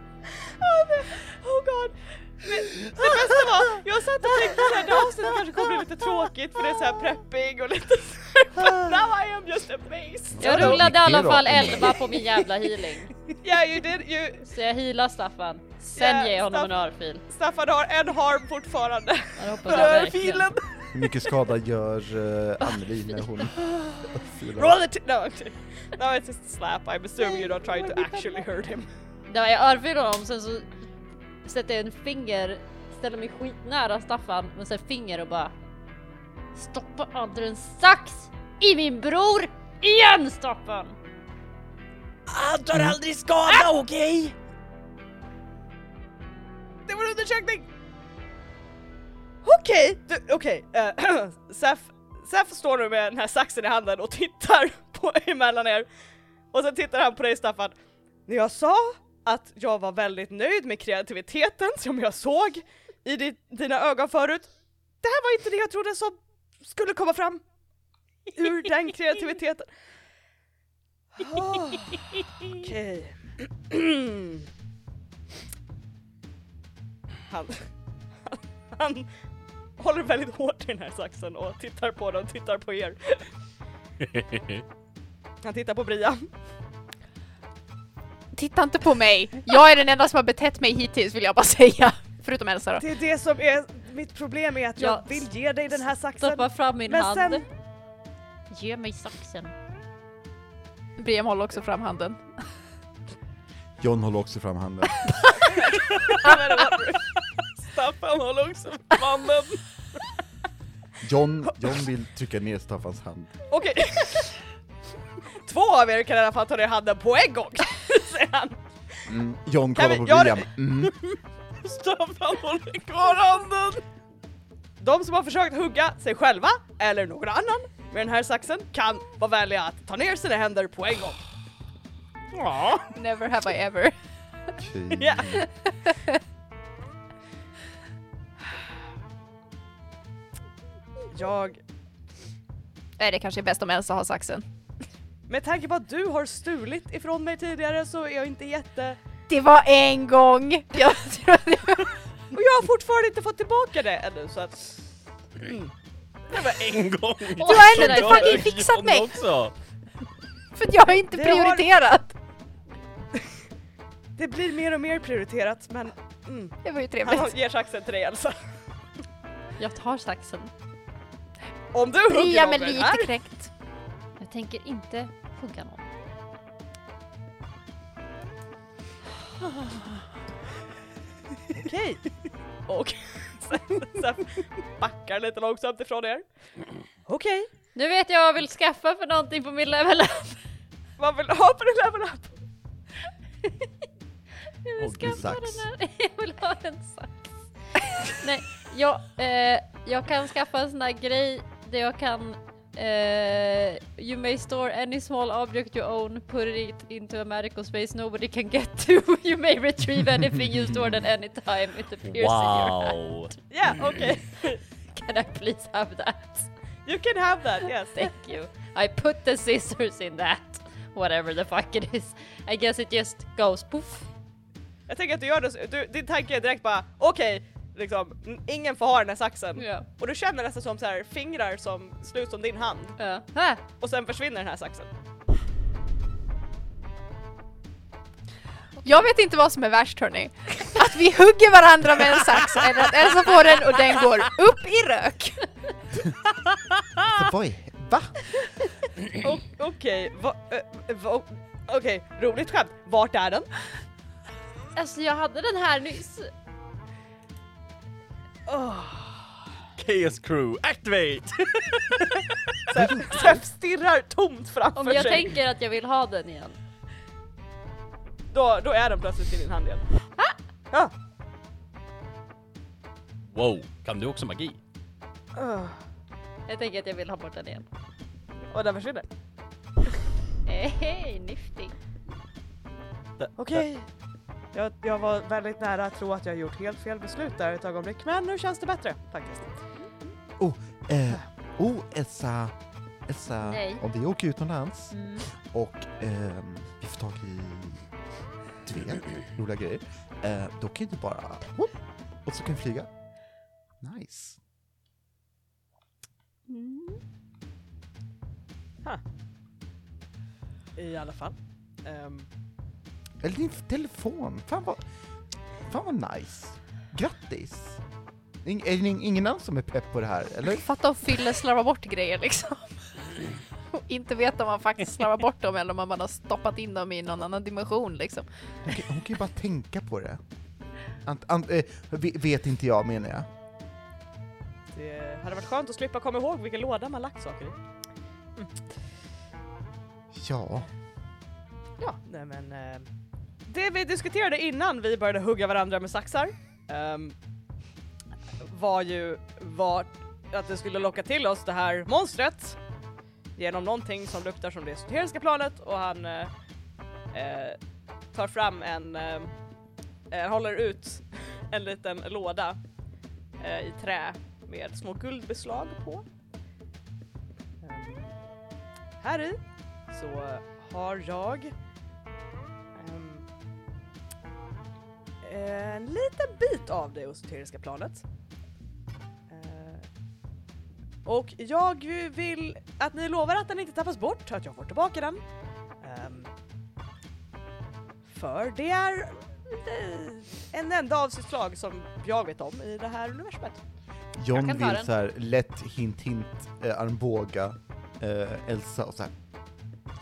Oh, men- oh god. Men det bästa var, jag satt och tänkte såhär, det här avsnittet kanske kommer bli lite tråkigt för det är såhär prepping och lite såhär, but now I am just amazed. jag Ja, rullade i alla det är fall rakt in. 11 på min jävla healing. Yeah you did, you... Så jag healar Staffan, sen Yeah, ger jag honom Staff- en örfil. Staffan har en harm fortfarande. Jag hoppas jag verkligen. Örfilen! Hur mycket skada gör uh, Anneli när hon Roll filar? it! No, I'm kidding. no it's just a slap. I'm assuming you're not trying to actually hurt him. Ja, jag örfilar honom, sen så sätter jag en finger, ställer mig skitnära Staffan, men sen finger och bara Stoppa aldrig en sax i min bror! Igen Staffan! Han tar aldrig skada, Ah! okej? Det var en undersökning! Okej, du- okej. eh, Saf, Saf står nu med den här saxen i handen och tittar på emellan er. Och sen tittar han på dig Staffan. När jag sa att jag var väldigt nöjd med kreativiteten som jag såg i di, dina ögon förut. Det här var inte det jag trodde som skulle komma fram ur den kreativiteten. Ah. Okej. han, han håller väldigt hårt i den här saxen och tittar på den, tittar på er. Han tittar på Bria. Titta inte på mig! Jag är den enda som har betett mig hittills vill jag bara säga. Förutom Elsa då. Det är det som är mitt problem är att jag Ja, vill ge dig den här saxen. Stoppa fram min Men hand. sen, Ge mig saxen. Briam håller också fram handen. John håller också fram handen. Staffan håller också mannen. John, John vill trycka ner Staffans hand. Okej. Två av er kan i alla fall ta ner handen på en gång, säger han. Mm. John Kan kollar vi på göra William. Mm. Staffan håller kvar handen! De som har försökt hugga sig själva eller någon annan med den här saxen kan vara vänliga att ta ner sina händer på en gång. Ja. Never have I ever. Okej. Ja. Jag, Nej det kanske är bäst om Elsa har saxen. med tanke på att du har stulit ifrån mig tidigare så är jag inte jätte... Det var en gång! Jag tror det var... Och jag har fortfarande inte fått tillbaka det ännu så att... Det var en gång. Du har ändå inte fucking fixat mig. Också. För jag har inte Det har- prioriterat! Det blir mer och mer prioriterat men... Mm. Det var ju Han trevligt. ger saxen till dig Elsa. Jag tar saxen. Om du hugger Briam någon är med den här lite kränkt. Jag tänker inte hugga någon. Okej. Och sen, sen backar lite långsamt ifrån er. Okej. Nu vet jag vad jag vill skaffa för någonting på min level up. Vad vill du ha för en level up? Jag vill Och en skaffa sax. den här. Jag vill ha en sax. Nej, jag, eh, jag kan skaffa en sån här grej där jag kan eh, You may store any small object you own, put it into a magical space nobody can get to. You may retrieve anything you stored at any time. It appears in your hand. Wow. Ja, okej. Can I please have that? You can have that, yes. Thank you. I put the scissors in that. Whatever the fuck it is. I guess it just goes poof. Jag tänker att du gör det, så- du, din tanke är direkt bara okej, liksom n- ingen får ha den här saxen. Ja. Och du känner nästan som så här fingrar som slut som din hand Ja. Ah, och sen försvinner den här saxen. Jag vet inte vad som är värst hörni. Att vi hugger varandra med en sax eller att Elsa får den och den går upp i rök. Så vad är... Va? O- Okej, va- eh, va- okej, roligt skämt. Vart är den? alltså jag hade den här nyss. Chaos crew, activate! Sen stirrar tomt framför Om jag sig. tänker att jag vill ha den igen. Då, då är den plötsligt i din hand igen. Ja. Wow, kan du också magi? Ah. Jag tänker att jag vill ha bort den igen. Och den försvinner. Eh, Hej, nifty. Okej. Jag, jag var väldigt nära att tro att jag gjort helt fel beslut där ett ögonblick, men nu känns det bättre faktiskt. Oh, eh, oh Elsa. Elsa, Nej. om vi åker utomlands och ehm, vi får tag i, du vet, roliga grejer, eh, då kan ju du bara, whoop, och så kan vi flyga. Nice. I alla fall. Ehm, Eller din telefon. Fan vad, fan vad nice. Grattis. Ing, är det ingen annan som är pepp på det här, eller? Fatta om Fylle slarvar bort grejer liksom. Och inte vet om man faktiskt slarvar bort dem eller om man bara har stoppat in dem i någon annan dimension liksom. Hon kan, hon kan ju bara tänka på det. Ant, ant, eh, ve- vet inte jag menar jag. Det hade varit skönt att slippa komma ihåg vilken låda man lagt saker i. Ja. Ja, nej men. eh, det vi diskuterade innan vi började hugga varandra med saxar ehm, var ju vart att det skulle locka till oss det här monstret genom någonting som luktar som det esoteriska planet och han eh, eh, tar fram en, eh, eh, håller ut en liten låda eh, i trä med små guldbeslag på. Ehm, här i så har jag ehm, en liten bit av det esoteriska planet. Eh, och jag vill att ni lovar att den inte tappas bort, att jag får tillbaka den. Ehm, för det är eh, en enda av sitt slag som jag vet om i det här universumet. John kan ta vill den. så här lätt hint hint eh, armbåga eh, Elsa och så här.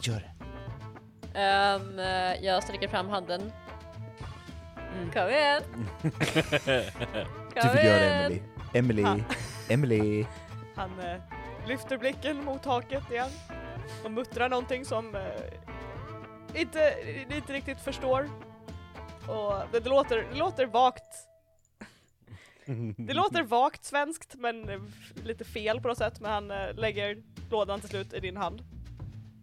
Gör det. Ehm, eh, jag sträcker fram handen. Mm. Kom igen! Du Kom vill göra det Emily. igen! Emily. Emily. Han eh, lyfter blicken mot taket igen och muttrar någonting som eh, inte, ni inte riktigt förstår. Och det, det, låter, det låter vagt. Det låter vagt svenskt men eh, f- lite fel på något sätt men han eh, lägger lådan till slut i din hand.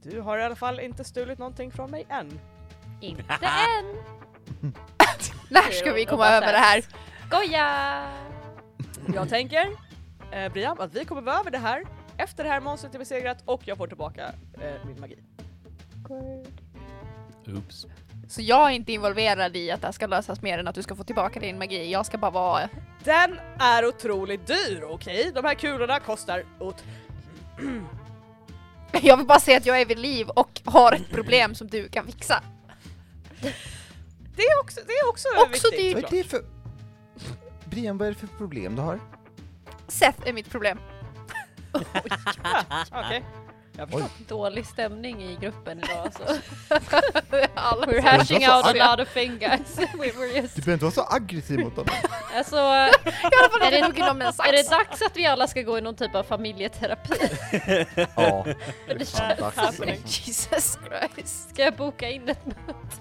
Du har i alla fall inte stulit någonting från mig än. Inte än! När ska vi komma över det här? Goja! Jag tänker, eh, Brian, att vi kommer vara över det här efter det här monstret är besegrat och jag får tillbaka eh, min magi. Oops. Så jag är inte involverad i att det här ska lösas mer än att du ska få tillbaka din magi. Jag ska bara vara... Den är otroligt dyr, okej? De här kulorna kostar ot- Jag vill bara säga att jag är vid liv och har ett problem som du kan fixa. Det är också, det är också, Också viktigt. Vad är såklart. det för... Brian, vad är det för problem du har? Seth är mitt problem. Okej. Jag förstår. Dålig stämning i gruppen idag alltså. Alla We're var hashing så out a arga. lot of fingers. We were just... Du behöver inte vara så aggressiv mot honom. Alltså, I alla fall Är att jag det- hugger dem med en är sax. det dags att vi alla ska gå i någon typ av familjeterapi? ja. Det Det är fan dags alltså. happening. Jesus Christ. Ska jag boka in ett möte?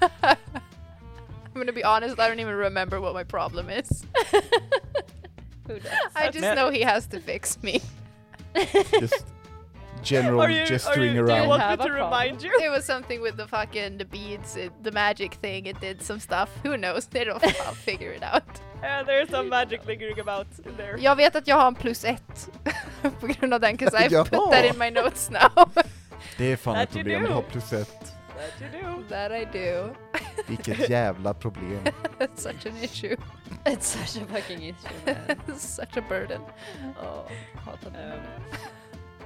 I'm gonna be honest, I don't even remember what my problem is. Who does? I just know he has to fix me. Just general Are you, are gesturing you, do you around. want me Have a to problem. remind you? It was something with the fucking the beads, it, the magic thing. It did some stuff. Who knows? They don't I'll figure it out. Uh, there's some magic lingering about in there. Jag vet att jag har en plus ett på grund av den, 'cause I've put Jaha. that in my notes now. Det är fan ett That you problem do. att ha plus ett. That you do. that I do. Vilket jävla problem. That's such an issue. It's such a fucking issue man. such a burden. Åh, hatar mig. Ehm,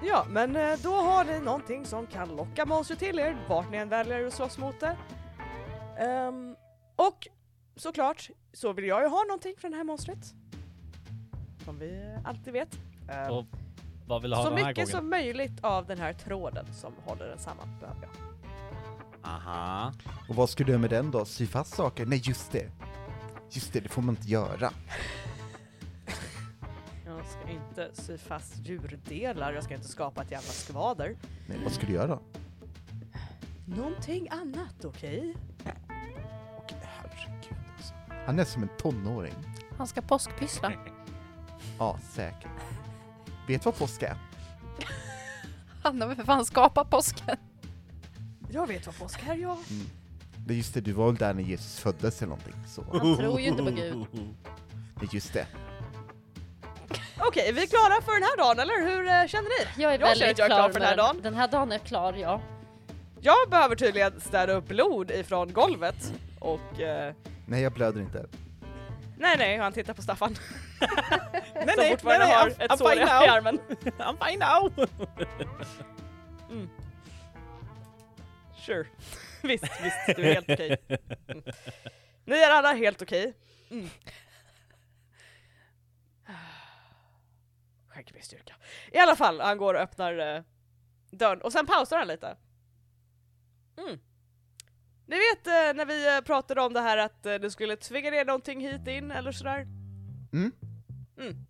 Ja, men eh, då har ni någonting som kan locka monster till er vart ni än väljer att slåss mot det. Ehm, och såklart så vill jag ju ha någonting från det här monstret. Som vi eh, alltid vet. Ehm, Och Vad vill du ha så den här mycket gången? som möjligt av den här tråden som håller den samman behöver jag. Aha. Och vad ska du göra med den då? Sy fast saker? Nej, just det. Just det, det får man inte göra. Jag ska inte sy fast djurdelar, jag ska inte skapa ett jävla skvader. Nej, vad ska du göra då? Någonting annat, okej? Och herregud alltså. Han är som en tonåring. Han ska påskpyssla. Ja, säkert. Vet vad påsk är? Han har väl för fan skapat påsken. Jag vet vad påsk är, jag. Nej, just det, du var väl där när Jesus föddes eller någonting så. Han tror ju inte på Gud. Nej, just det. Okej, vi är klara för den här dagen, eller hur eh, känner ni? Jag är Jag känner väldigt att jag är klar för den här med dagen. Den här dagen är klar, ja. Jag behöver tydligen städa upp blod ifrån golvet och... Eh, Nej, jag blöder inte. nej, nej, han tittar på Staffan. nej, nej, nej, fortfarande nej, har I'm- I'm ett sår i fine now. armen. I'm fine now! Sure. visst, visst, du är helt okej. Mm. Ni är alla helt okej. Mm. Skänker mig styrka. I alla fall, han går och öppnar eh, dörren och sen pausar han lite. Mm. Ni vet eh, när vi eh, pratade om det här att eh, du skulle tvinga ner någonting hit in eller sådär? Mm. Mm.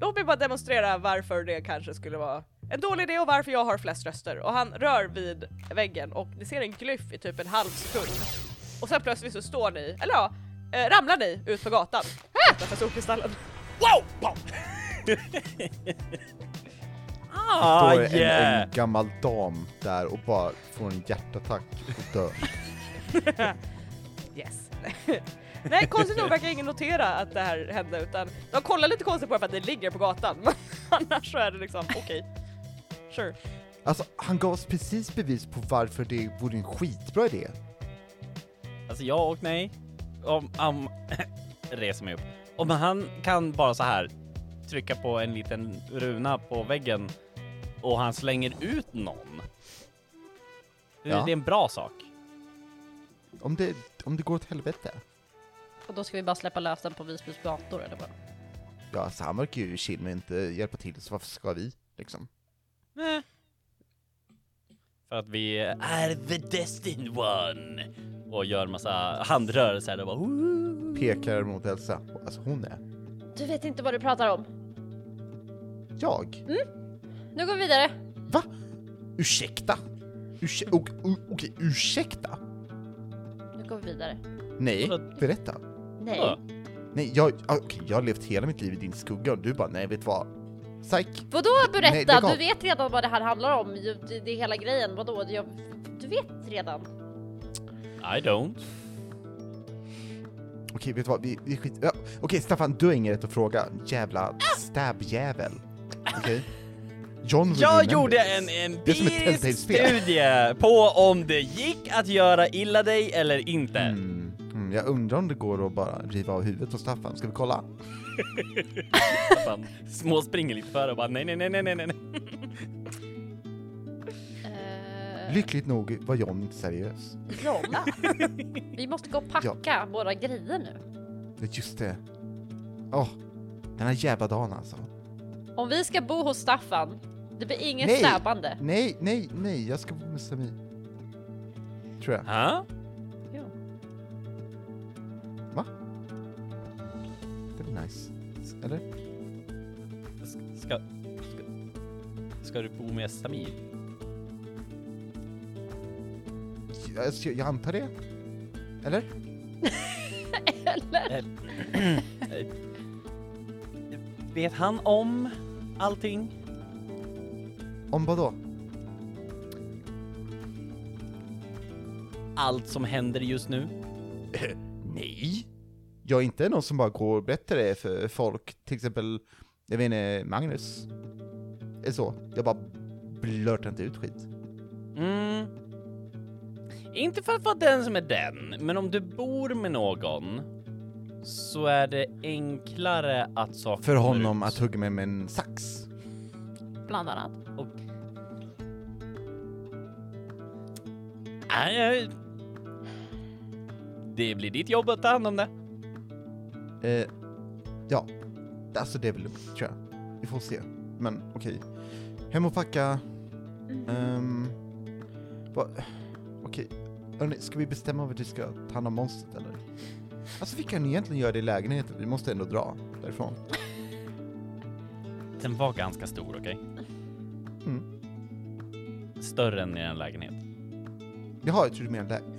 Låt mig bara demonstrera varför det kanske skulle vara en dålig idé och varför jag har flest röster. Och han rör vid väggen och ni ser en glyff i typ en halv sekund. Och sen plötsligt så står ni, eller ja, eh, ramlar ni ut på gatan utanför Solkristallen. Ah, Står en, en gammal dam där och bara får en hjärtattack och dör. Yes. Nej, konstigt nog verkar ingen notera att det här hände utan de kollar lite konstigt på det för att det ligger på gatan. Men annars så är det liksom okej. Sure. Alltså, han gav oss precis bevis på varför det vore en skitbra idé. Alltså jag och mig, om, om reser mig upp. Om han kan bara så här trycka på en liten runa på väggen och han slänger ut någon. Det, Ja. det är en bra sak. Om det, om det går åt helvete. Och då ska vi bara släppa lös den på Visbys gator eller vad? Ja, alltså, han verkar ju chill men inte hjälpa till, så varför ska vi? Liksom. För att vi är the destined one och gör massa handrörelser och bara "Woo!" Pekar mot Elsa. Alltså hon är... Du vet inte vad du pratar om. Jag? Nu går vi vidare. Va? Ursäkta? Ursäk- och- och- Okej, ursäkta? Nu går vi vidare. Nej, Vadå? berätta. Nej. Ja. Nej, jag, ah, okej, jag har levt hela mitt liv i din skugga och du bara nej, vet du vad? Psyk. Vadå berätta? Nej, lägg av. du vet redan vad det här handlar om. Ju- Det, det är hela grejen. Vadå? Jag, du vet redan. I don't. Okej, vet du vad? Vi, vi skit... Ja, okej, Staffan, du har ingen rätt att fråga. Jävla stabbjävel. Okej? John will Jag remember gjorde this. en Det är som ett empirisk Telltale-spel. studie på om det gick att göra illa dig eller inte. Mm, mm, jag undrar om det går att bara riva av huvudet på Staffan. Ska vi kolla? Fan, småspringer lite före och bara nej, nej, nej, nej, nej, nej. Eh, Lyckligt nog var John inte seriös. Jonna. vi måste gå och packa våra grejer nu. Det är Just det. Åh, den här jävla dagen alltså. Om vi ska bo hos Staffan, det blir inget Nej. stabbande. Nej, nej, nej, jag ska bo med Samir. Tror jag. Ha? Det blir nice. Eller? Ska, ska, ska du bo med Samir? Alltså, jag antar det. Eller? Vet han om allting? Om vad då? Allt som händer just nu? Nej. Jag är inte någon som bara går och berättar det för folk. Till exempel, jag vet inte, Magnus. Eller så. Jag bara blörtar inte ut skit. Mm. Inte för att vara den som är den, men om du bor med någon så är det enklare att saker För kommer honom ut. att hugga mig med en sax. bland annat. Nej, nej. Det blir ditt jobb att ta hand om det. Eh, ja. Alltså det är väl lugnt, tror jag. Vi får se. Men okej. Hem och packa. Ehm... va- Okej. Hörni, ska vi bestämma vad vi ska ta hand om monstret eller? Alltså vi kan egentligen göra det i lägenheten, vi måste ändå dra därifrån. Den var ganska stor, okej? Mm. Större än i en lägenhet. Jaha, jag tror du menar lägenhet.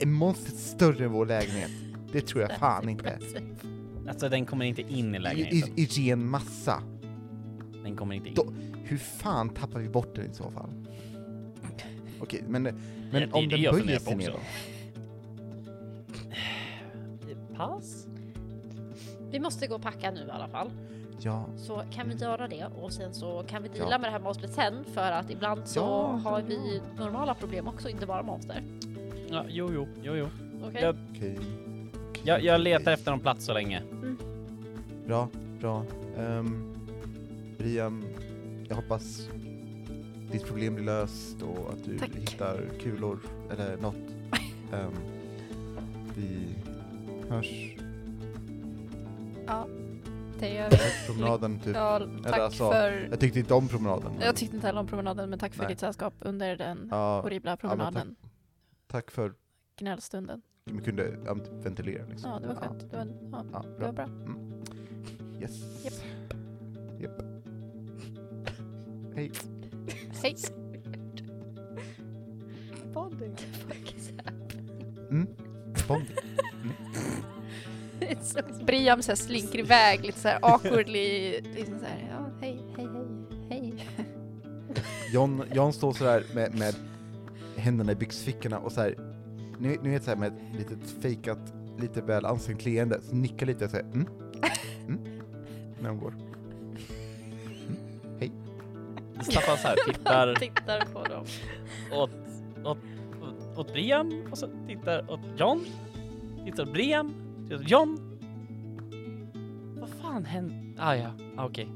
Är monstret större än vår lägenhet? Det tror jag fan inte. Alltså den kommer inte in i I, lägenheten. i, I ren massa. Den kommer inte in. Då- Hur fan tappar vi bort den i så fall? Okej, men, det är men om det den jag funderar böjer på sig ner också. då? Pass? Vi måste gå och packa nu i alla fall. Ja. Så kan vi göra det och sen så kan vi Ja. deala med det här monstret sen för att ibland så Ja, har ja, vi normala problem också, inte bara monster. Ja, jo, jo, jo, jo. Okej? Ja. Okej. Jag, jag letar efter någon plats så länge. Bra, bra. Um, Brian, jag Ehm, hoppas ditt problem blir löst och att du Tack. hittar kulor eller något. Ehm, vi hörs Det gör på vi. promenaden typ. Dahl, Eller tack alltså, för... Jag tyckte inte om promenaden. men- Jag tyckte inte heller om promenaden, men tack för Nej. ditt sällskap under den ja, horribla promenaden. tack för att Gnällstunden. vi kunde ja, men typ ventilera liksom. Ja, det var skönt. Det var, ja, Ja, det var bra. Mm. bra. Yes. Japp. Japp. Hej. Hej! Bonding. Mm. Bond. Briam så här slinker iväg lite så här awkwardly. Liksom så här, ja, hej, hej, hej, hej. John, John står sådär med, med händerna i byxfickorna och såhär, ni, ni vet såhär med ett litet fejkat, lite väl ansträngt leende, så nickar lite och säger mm, mm, när hon går. Staffan så här tittar Tittar på dem. Mm. åt, åt, åt, åt Brian och så tittar åt John. Tittar åt Brian. Tittar åt John. Vad fan hände? Ah ja, ah, okej.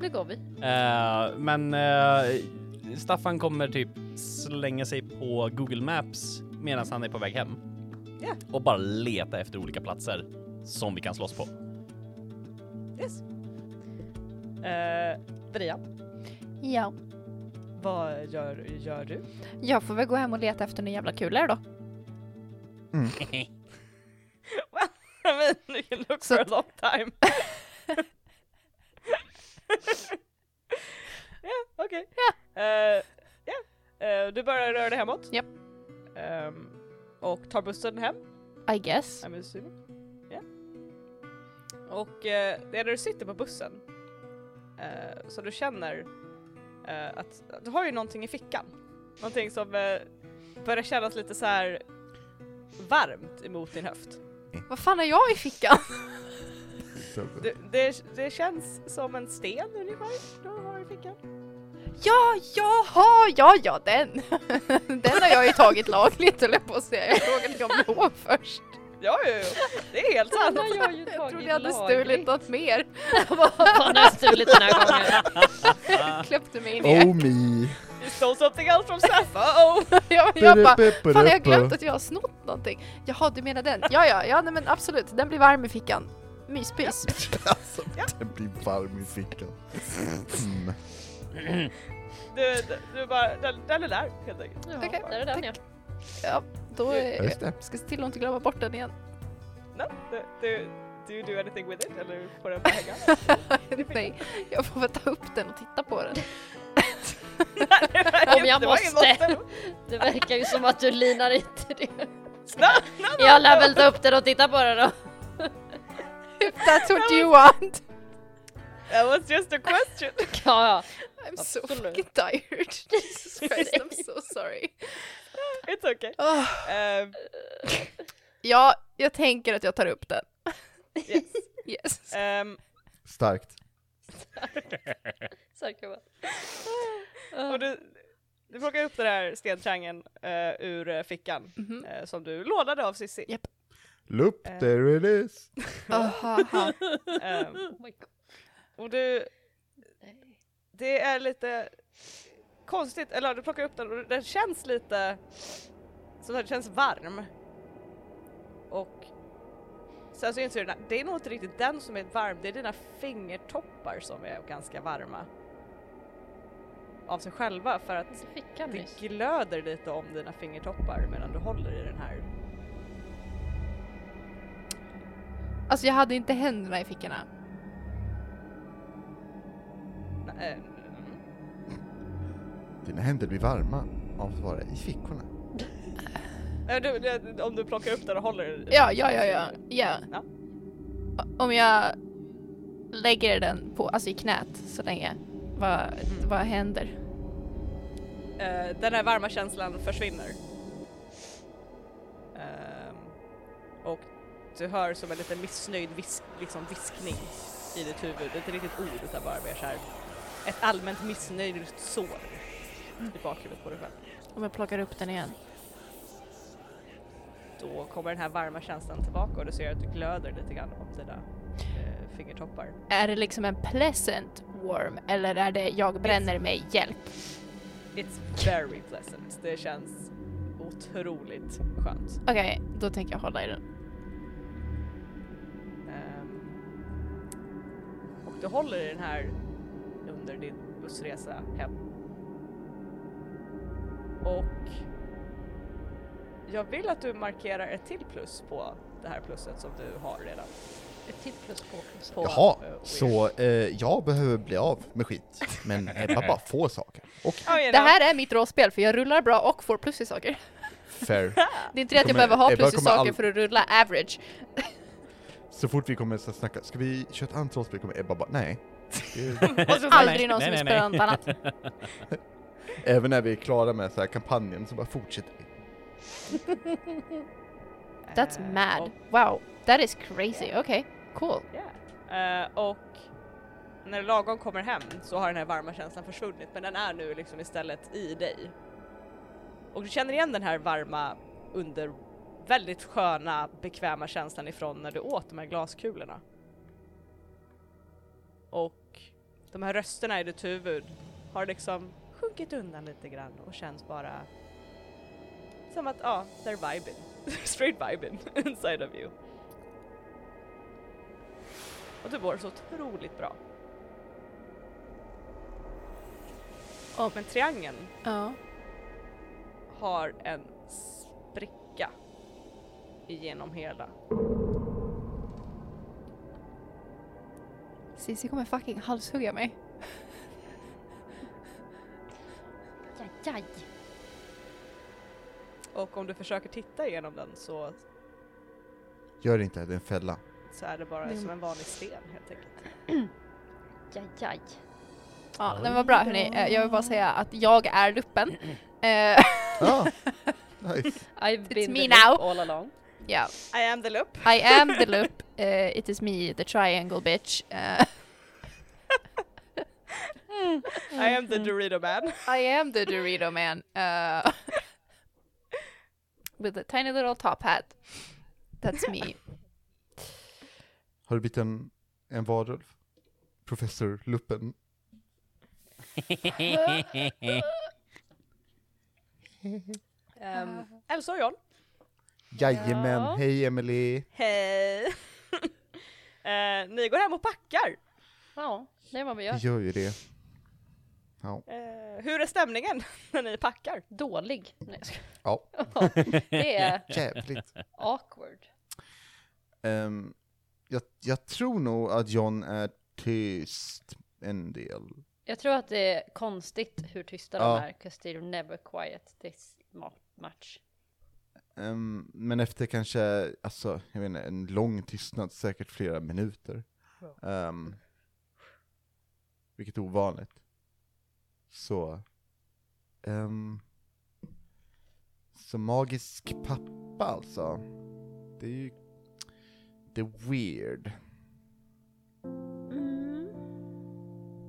Nu går vi. Eh, men eh, Staffan kommer typ slänga sig på Google Maps medan han är på väg hem. Ja. Och bara leta efter olika platser som vi kan slåss på. Yes. Eh, Bria, Ja. vad gör, gör du? Jag får väl gå hem och leta efter några jävla kulor då. Mm. I mean, you can look Så for a long time. ja, okej. Eh, ja. Eh, du börjar röra dig hemåt. Japp. Ehm, och tar bussen hem, I guess. I'm assuming. Ja. Och eh, det är när du sitter på bussen eh, så du känner eh, att du har ju någonting i fickan. Någonting som eh, börjar kännas lite så här varmt emot din höft. Vad fan har jag i fickan? Så, Det, det, det känns som en sten ungefär, du har i fickan. Ja, jaha, ja, ja, den. den har jag ju tagit lagligt höll jag på att säga. Jag frågade om jag blev lov först. Ja, ja, ja. det är helt sant. har jag ju Jag tagit trodde jag hade lagligt. stulit något mer. Fan, nu har jag stulit den här gången. Kläppte mig in i Oh me! You stole something else from Seth, uh oh! Jag, jag bara, fan jag har glömt att jag har snott någonting. Jaha, du menar den? Ja, ja, ja, nej men absolut. Den blir varm i fickan. Myspys. alltså, den blir varm i fickan. Eh. Mm. Du, du, du bara, den, den är där helt enkelt. Ja, Okej, där är den ja. Då Ja, eh, Just det. ska se till att inte glömma bort den igen. No, du, du, do you do anything with it eller får den bara hänga? nej, jag får väl ta upp den och titta på den. Om jag måste. Det verkar ju som att du linar inte det. Jag lär väl ta upp den och titta på den då. If that's what you want. That was just a question. Ja, ja. I'm so Absolut. fucking tired. Jesus Christ, I'm so sorry. It's okay. Åh, Ehm, ja, jag tänker att jag tar upp den. yes. Yes. Ehm, Starkt. Så här kan man. Ah. och du, du plockar upp den här stentrangen eh, ur eh, fickan Mhm. eh, som du lånade av Cissi. Loop, Eh. there it is. Aha, aha. Ehm, Oh my God. och du, det är lite konstigt, eller ja, du plockar upp den och den känns lite, som den känns varm. Och sen så inser du att det är nog inte riktigt den som är varm, det är dina fingertoppar som är ganska varma. Av sig själva för att Fickan det nyss. glöder lite om dina fingertoppar medan du håller i den här. Alltså jag hade inte händerna i fickorna. Nej, eh, Dina händer blir varma av att vara i fickorna. eh, du, det- om du plockar upp den och håller i den. Ja, ja, ja, ja. ja. Ja. Om jag lägger den på, alltså i knät så länge, vad, vad händer? Eh, den här varma känslan försvinner. Ehm, och du hör som en lite missnöjd visk, liksom viskning i ditt huvud. Det är inte riktigt ord utan bara mer så här ett allmänt missnöjt sår i bakhuvudet på dig själv. Om jag plockar upp den igen? Då kommer den här varma känslan tillbaka och du ser att du glöder lite grann om dina eh, fingertoppar. Är det liksom en pleasant worm eller är det jag bränner mig, hjälp? It's very pleasant. Det känns otroligt skönt. Okej, då tänker jag hålla i den. Ehm, och du håller i den här under din bussresa hem. Och jag vill att du markerar ett till plus på det här plusset som du har redan. Ett till plus på plus. På, Jaha, eh, weird. så eh, jag behöver bli av med skit, men Ebba bara får saker. Och Oh, you Det know. här är mitt råspel för jag rullar bra och får plus i saker. fair. Det är inte det att jag Kommer- behöver ha Ebba plus i kommer saker all- för att rulla average. Så fort vi kommer att snacka, ska vi köra ett annat rollspel kommer Ebba bara nej. Aldrig någon som vill spela något annat. Även när vi är klara med så här kampanjen så bara fortsätter vi. That's Eh, mad. och- Wow, that is crazy. Okej, cool. Yeah. Eh, och när du lagom kommer hem så har den här varma känslan försvunnit men den är nu liksom istället i dig. Och du känner igen den här varma under väldigt sköna bekväma känslan ifrån när du åt de här glaskulorna. Och de här rösterna i ditt huvud har liksom sjunkit undan lite grann och känns bara som att ja, ah, they're vibing. Straight vibing inside of you. Och det går så otroligt bra. Och- Men triangeln Ja. har en spricka igenom hela. Cissi kommer fucking halshugga mig. Jaj. Och om du försöker titta igenom den så, Gör inte det, det är en fälla. så är det bara Mm. som en vanlig sten helt enkelt. Jaj, jaj. Ja, den var bra hörni. Eh, Jag vill bara säga att jag är luppen. Eh, Ah, nice. I've been me the now. loop all along. Ja, I am the loop. I am the loop. Eh, it is me, the triangle bitch. Eh, I am the Dorito man. I am the Dorito man. eh, with a tiny little top hat. That's me. Har du blivit en, en varulv? Professor Luppen? Ehm, Elsa och John. Jajamän, Ja. hej Emily. Hej! Eh, ni går hem och packar. Ja, det är vad man Jag gör. gör ju det. Ja. Eh, hur är stämningen när ni packar? Dålig. Nej, jag skojar. Ja. Det är Jävligt. awkward. Ehm, jag, jag tror nog att John är tyst en del. Jag tror att det är konstigt hur tysta Ja. de är, 'cause they're never quiet this ma- much. Ehm, men efter kanske, alltså, jag vet inte, en lång tystnad, säkert flera minuter. Ehm, vilket är ovanligt. Så... ehm, så magisk pappa alltså. Det är ju... Det är weird.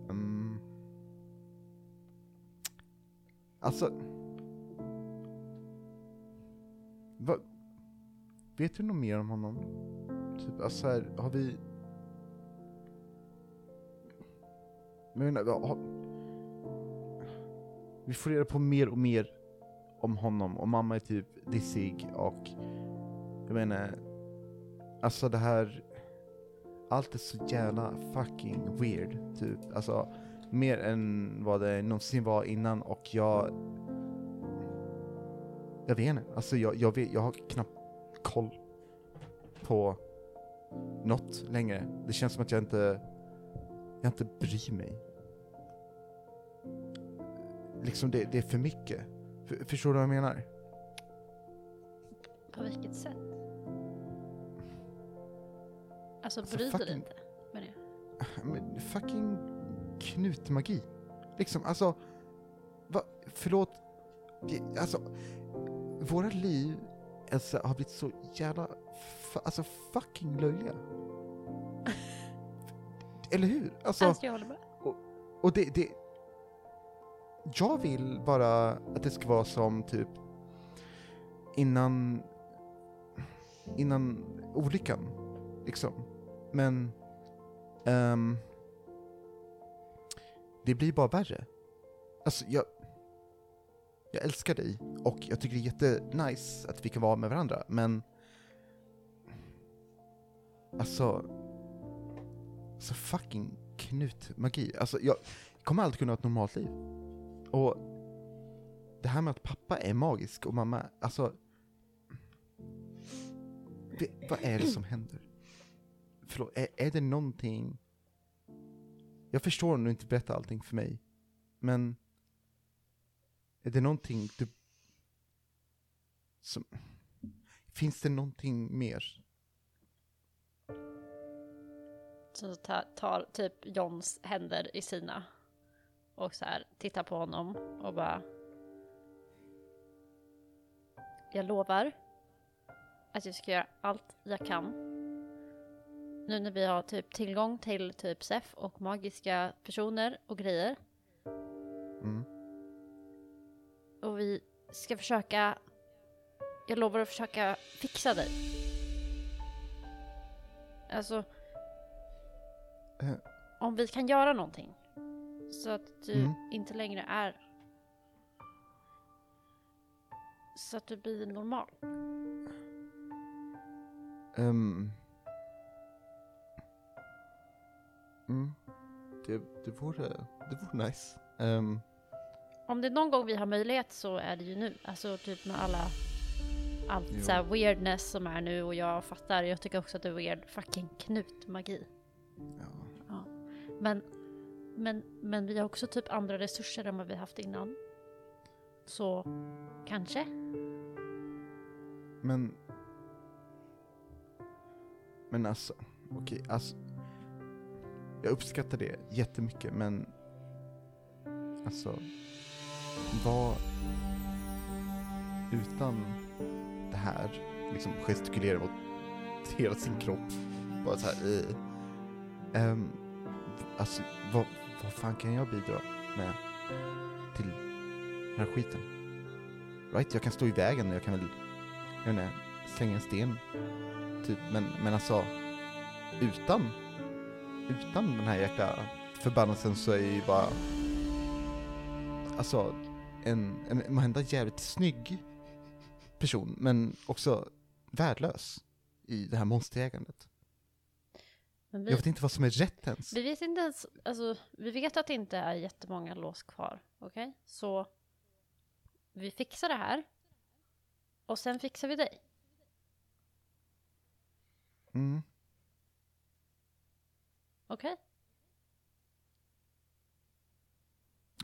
Mm. Alltså... Va, vet du något mer om honom? Typ, alltså här, har vi... Men, jag menar, va- har, vi får reda på mer och mer om honom och mamma är typ dissig och jag menar, alltså det här, allt är så jävla fucking weird typ. Alltså mer än vad det någonsin var innan och jag jag vet inte. Alltså jag, jag, vet, jag har knappt koll på något längre. Det känns som att jag inte, jag inte bryr mig. Liksom det, det är för mycket. F- förstår du vad jag menar? På vilket sätt? Alltså Alltså, bryr dig fucking- inte. Men jag. Men fucking knutmagi. Liksom, alltså... Va, förlåt. Det- Alltså, våra liv alltså, har blivit så jävla... Fa, alltså fucking löjliga. Eller hur? Alltså, Alltså jag håller med. och det, det... Jag vill bara att det ska vara som typ innan... Innan olyckan, liksom. Men Ehm, det blir bara värre. Alltså, jag... Jag älskar dig och jag tycker det är jättenice att vi kan vara med varandra, men... Alltså... Så fucking knutmagi. Alltså, jag kommer aldrig kunna ha ett normalt liv. Och det här med att pappa är magisk och mamma, alltså... Det, vad är det som händer? Förlåt, är, är det någonting... Jag förstår om du inte berättar allting för mig, men... Är det någonting du... Som... Finns det någonting mer? Så ta- tar typ Johns händer i sina och så här tittar på honom och bara. Jag lovar att jag ska göra allt jag kan. Nu när vi har typ tillgång till typ SEF och magiska personer och grejer Mm. och vi ska försöka. Jag lovar att försöka fixa dig. Alltså. Eh. Om vi kan göra någonting. Så att du Mm. inte längre är. Så att du blir normal. Ehm. Mm. Det, det, vore, det vore nice. Ehm, Om det är någon gång vi har möjlighet så är det ju nu. Alltså typ med alla Jo. allt så här weirdness som är nu och jag fattar. Jag tycker också att det är weird fucking knutmagi. ja. Men, men, men vi har också typ andra resurser än vad vi haft innan. Så kanske. Men... Men alltså, okej, alltså... Jag uppskattar det jättemycket, men... Alltså... Vad... Utan det här, liksom gestikulera mot hela sin kropp, bara så här... Eh, Ehm, alltså, vad, vad fan kan jag bidra med till den här skiten? Right, jag kan stå i vägen och jag kan väl jag vet inte, slänga en sten. Typ, men, men alltså, utan, utan den här jäkla förbannelsen så är ju bara, alltså, en, en, en måhända jävligt snygg person, men också värdelös i det här monsterjägandet. Men Jag vi, vet inte vad som är rätt ens. vi vet inte ens, alltså vi vet att det inte är jättemånga lås kvar. Okej? Så vi fixar det här. Och sen fixar vi dig. Mm. Okej?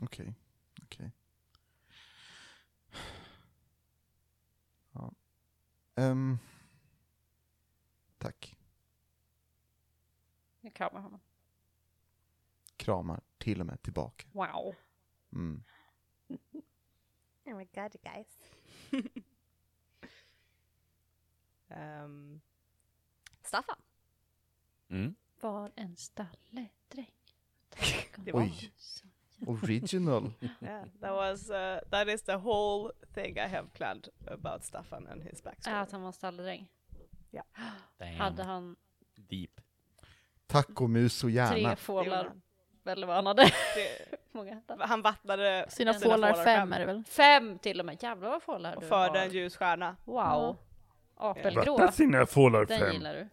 Okej, okej. Ja. Ehm. tack. Nu kramar honom. Kramar till och med tillbaka. Wow. Mm. Oh my god guys. um, Staffan. Mm. Var en stalledräng. Det var- Oj. Original. Yeah, that was uh, that is the whole thing I have planned about Staffan and his Ja, backstory. Äh, att han var en stalledräng. Damn. Hade han Deep. Taco, mus och tre hjärna. Det gjorde fålar, han. eller vad han hade. Det- Många. Han vattnade Sina Sina fålar fålar fem fem. är det väl? Fem till och med. Jävlar vad fålar och du förde har. en ljus stjärna. Wow. Apelgrå. sina fålar Den gillar du.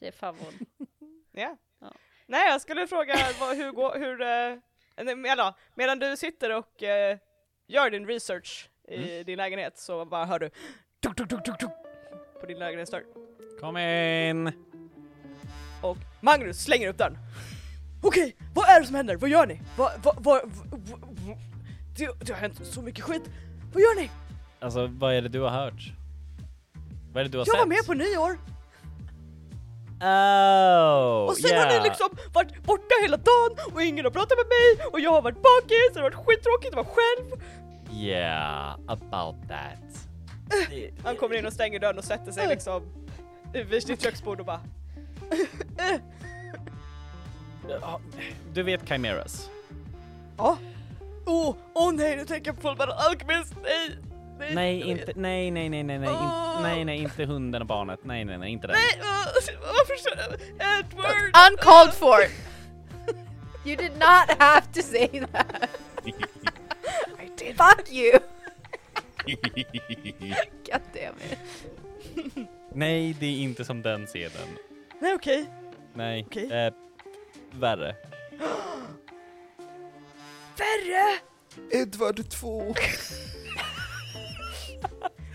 Det är favorit. Ja. Ja. Nej, jag skulle fråga vad, hur, går, hur eh, nej, men ja, medan du sitter och eh, gör din research i din lägenhet så bara hör du tuk, tuk, tuk, tuk, tuk, på din lägenhetsdörr. Kom in! Och Magnus slänger upp dörren. Okej, vad är det som händer? Vad gör ni? Vad, vad, vad, vad, vad- det, det har hänt så mycket skit. Vad gör ni? Alltså, vad är det du har hört? Vad är det du har Jag sett? var med på nyår Oh! och sen yeah. har ni liksom varit borta hela dagen och ingen har pratat med mig och jag har varit bakis och det har varit skittråkigt att vara själv. Yeah, about that. Det- Han kommer in och stänger dörren och sätter sig liksom vid sitt köksbord och bara Ja, Du vet Chimeras? Ja. Åh, åh nej, nu tänker jag på Fullmetal Alchemist, nej! Nej, Nej, inte, nej, nej, nej, nej, nej, in, Åh! nej, nej, inte hunden och barnet. Nej, nej, nej, inte den. Ah. Nej, åh, varför så? Edward! Uncalled for! You did not have to say that. I did. Fuck you! God damn it. Nej, det är inte som den scenen. Nej okej. Nej. Okej. Eh, värre. Värre! Edvard 2!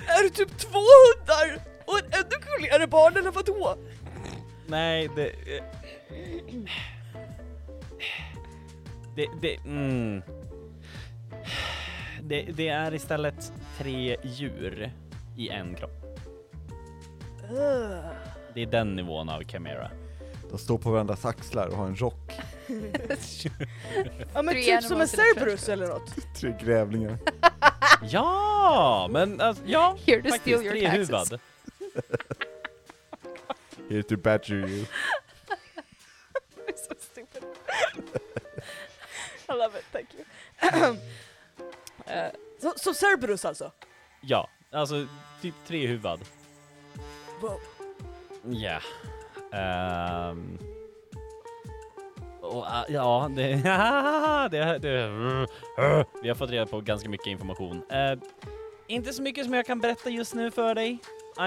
Är du typ två hundar? Och ett ännu gulligare barn eller vadå? Nej, det... eh, Det, det, mm. det, det är istället tre djur i en kropp. Ugh. Det är den nivån av Chimera. De står på varandras axlar och har en rock. Ja men Three typ som en animals in a Cerberus eller något. Tre grävlingar. Ja, men alltså, ja, Here to faktiskt steal your taxes. trehuvad. Here to badger you. so stupid. I love it, thank you. Eh, så, så Cerberus alltså? Ja, alltså typ trehuvad. Wow. Ja. Ehm. Och, ah, ja, det, det, det... Vi har fått reda på ganska mycket information. Eh, inte så mycket som jag kan berätta just nu för dig.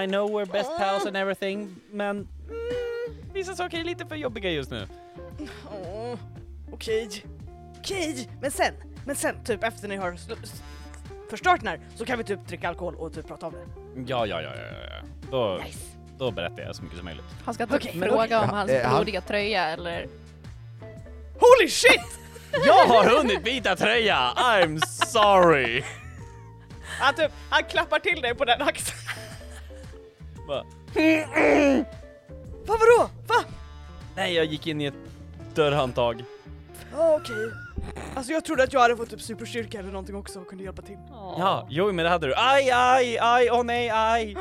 I know we're best pals and everything, men mm, vissa saker är lite för jobbiga just nu. Åh, Okej. Okej, men sen, men sen typ efter ni har sl- s- förstört den här så kan vi typ dricka alkohol och typ prata om det. Ja, ja, ja, ja, ja, ja. Då, Nice. då berättar jag så mycket som möjligt. Han ska inte Okej, men fråga om okej. hans Ja, eh, han- blodiga tröja eller... Holy shit! Jag har hunnit byta tröja! I'm sorry! Han typ, han klappar till dig på den axeln. Bara, Va vadå? Va? Nej, jag gick in i ett dörrhandtag. Ja okej. Alltså jag trodde att jag hade fått typ superstyrka eller någonting också och kunde hjälpa till. Ja, jo men det hade du. Aj, aj, aj, åh nej, aj!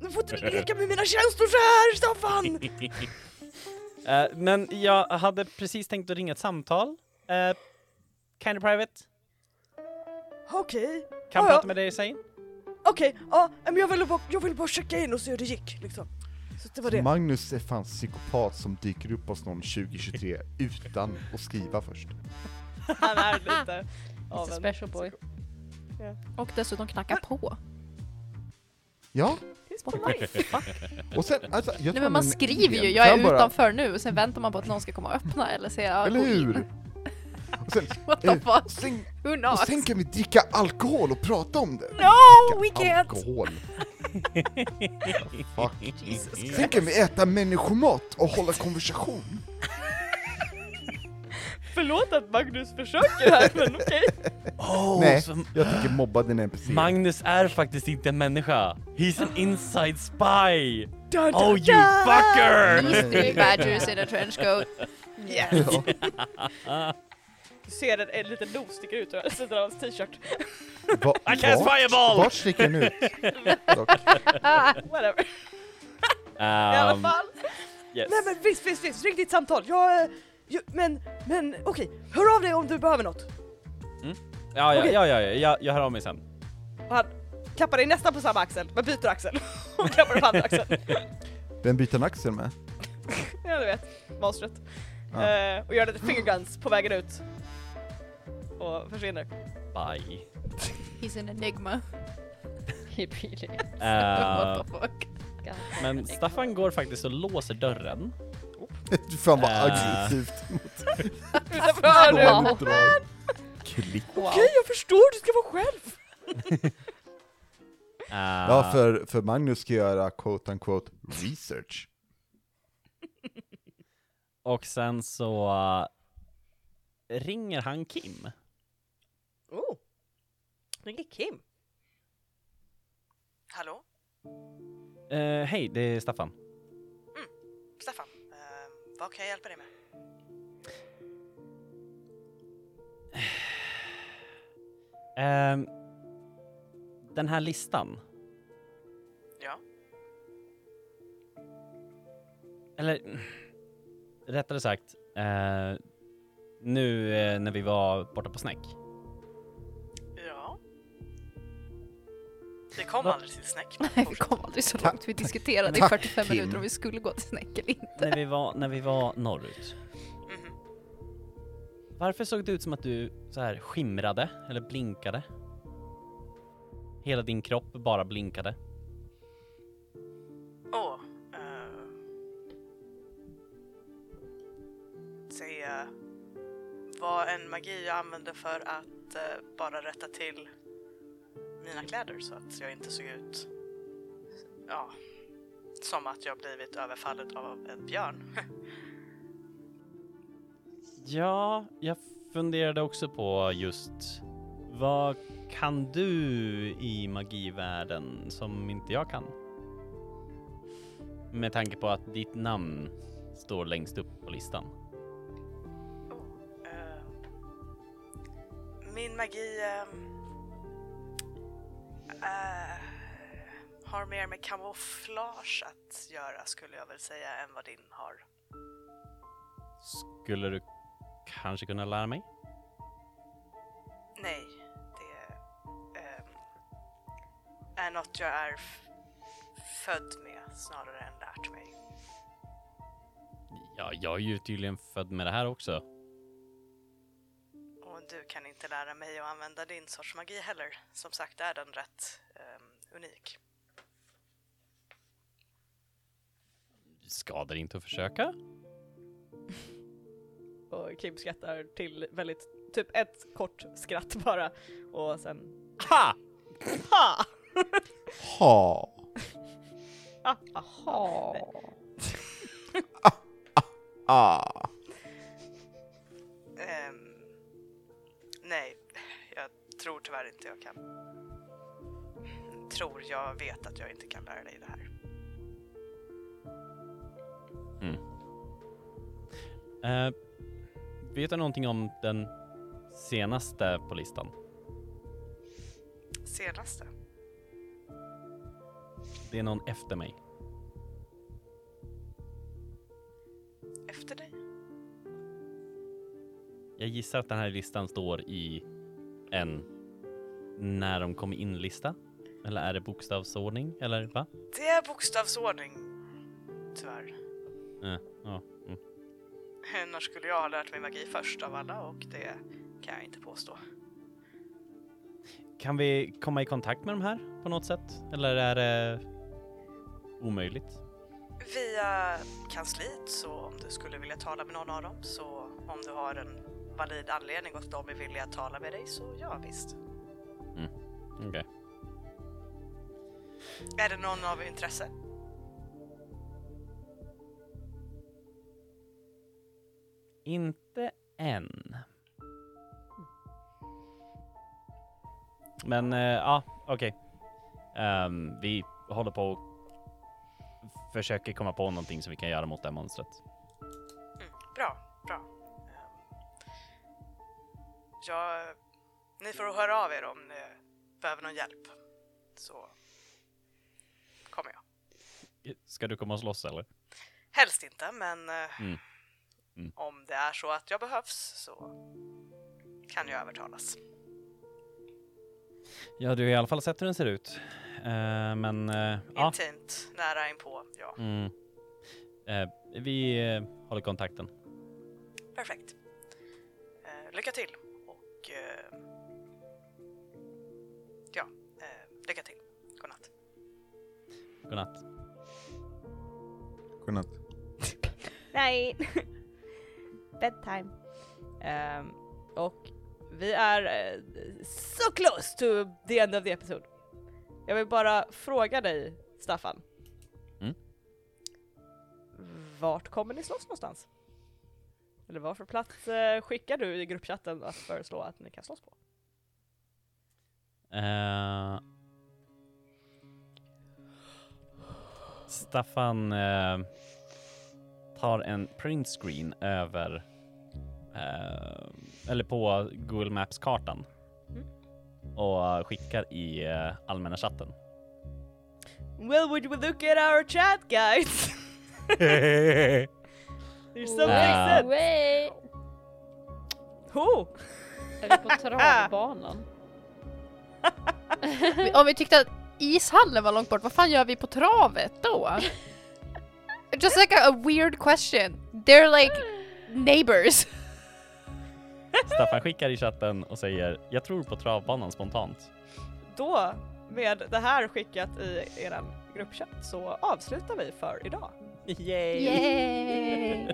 Nu får inte ni leka med mina känslor så här, Staffan! Eh, men jag hade precis tänkt att ringa ett samtal. Uh, kind of private. Okej. Kan Ja, prata ja. med dig sen. Okej, ja, men jag ville bara, jag ville bara checka in och se hur det gick liksom. Så det var det. Magnus är fan psykopat som dyker upp hos någon 2023 utan att skriva först. Han är lite av Lite special boy. Och dessutom knacka Ah, på. Ja, Fuck. och sen alltså, jag tar Nej men man en skriver ju, idé. jag är Sen bara- utanför nu och sen väntar man på att någon ska komma och öppna eller säga Eller "Gå in." hur? Och sen, What the eh, fuck? sen, Who och knows? sen kan vi dricka alkohol och prata om det. No, we Dricka can't! Alkohol. Fuck. Sen kan vi äta människomat och hålla konversation. Förlåt att Magnus försöker här men okej. Oh, Nej, jag tycker mobba din NPC. Magnus är faktiskt inte en människa. He's an inside spy! Dun, dun, Oh you dun! fucker! These three badgers in a trench coat. Yes. Ja. Du ser en, en liten nos sticker ut ur sidan av hans t-shirt. Va, I cast vart- fireball! Vart sticker den ut? Dock. Whatever. I alla Um, fall. yes. Nej men visst, visst, visst. Ring ditt samtal. Jag, eh, ju, men, men okej. Hör av dig om du behöver något. Ja, ja, Okej. ja, ja, ja, jag, jag hör av mig sen. Och han klappar dig nästan på samma axel, men byter axel. Och klappar dig på andra axeln. Vem byter han axel med? Ja du vet, monstret. Ja. Eh, och gör lite fingerguns på vägen ut. Och försvinner. Bye. He's an enigma. He really Eh, is. Ah. What the fuck? God. men Staffan går faktiskt och låser dörren. Fan vad Äh. aggressivt. Utanför hörnet. De drar. Klick. Okej jag förstår, du ska vara själv. Eh, Ja, för, för Magnus ska göra quote unquote research. Och sen så eh, ringer han Kim. Oh. Ringer Kim. Hallå? Eh, Hej, det är Staffan. Staffan, ehm, vad kan jag hjälpa dig med? Ehm, den här listan. Ja. Eller mm, rättare sagt, eh, nu eh, när vi var borta på Snäck. Ja. Det kom aldrig till snäck. Nej, vi kom aldrig så långt. Vi diskuterade i Tack, 45 Kim. minuter om vi skulle gå till Snäck eller inte. När vi var, när vi var norrut. Mhm. Varför såg det ut som att du så här skimrade eller blinkade? Hela din kropp bara blinkade. Åh. eh. Se eh, vad en magi jag använde för att eh, bara rätta till mina kläder så att jag inte såg ut ja, som att jag blivit överfallen av en björn. Ja, jag funderade också på just vad kan du i magivärlden som inte jag kan? Med tanke på att ditt namn står längst upp på listan. Eh, Min magi ehm, eh, har mer med kamouflage att göra skulle jag väl säga än vad din har. Skulle du kanske kunna lära mig? Nej, det ehm, är något jag är f- född med snarare än lärt mig. Ja, jag är ju tydligen född med det här också. Och du kan inte lära mig att använda din sorts magi heller. Som sagt är den rätt ehm, unik. Skadar inte att försöka? Och Kim skrattar till väldigt, typ ett kort skratt bara och sen Ha! ha! Ha! ha, ha. Ha. Ah! Ehm, nej, jag tror tyvärr inte jag kan. Tror jag vet att jag inte kan lära dig det här. Eh, vet du någonting om den senaste på listan? Senaste? Det är någon efter mig. Efter dig? Jag gissar att den här listan står i en när de kommer in-lista. Eller är det bokstavsordning? Eller va? Det är bokstavsordning. Tyvärr. Eh, ja, mm. När skulle jag ha lärt mig magi först av alla och det kan jag inte påstå. Kan vi komma i kontakt med de här på något sätt? Eller är det omöjligt? Via kansliet, så om du skulle vilja tala med någon av dem, så om du har en valid anledning och de är villiga att tala med dig, så ja visst. Okej. Är det någon av intresse? Inte än. Men eh, ja, okej. Ehm, vi håller på och försöker komma på någonting som vi kan göra mot det här monstret. Mm, bra, bra. Ehm, Jag, ni får höra av er om ni behöver någon hjälp. Så kommer jag. Ska du komma och slåss eller? Helst inte, men eh, Mm. Mm. om det är så att jag behövs så kan jag övertalas. Ja, du har i alla fall sett hur den ser ut. Eh, men eh, ja. Intimt, nära inpå, ja. Mm. Eh, vi eh, håller kontakten. Perfekt. Eh, lycka till och eh, ja, eh, lycka till. Godnatt. Godnatt. Godnatt. Nej. Bedtime. Ehm, och vi är eh, so close to the end of the episode. Jag vill bara fråga dig, Staffan. Mm. Vart kommer ni slåss någonstans? Eller vad för plats eh, skickar du i gruppchatten att föreslå att ni kan slåss på? Eh, Staffan eh, tar en printscreen över eh, eller på Google Maps-kartan och skickar i eh, allmänna chatten. Well, would you look at our chat guys? There's something Wow. said. Way. Oh! Är vi på travbanan? Om vi tyckte att ishallen var långt bort, vad fan gör vi på travet då? Just like a, a weird question. They're like neighbors. Staffan skickar i chatten och säger “Jag tror på travbanan spontant”. Då, med det här skickat i eran gruppchatt så avslutar vi för idag. Yay! Yay!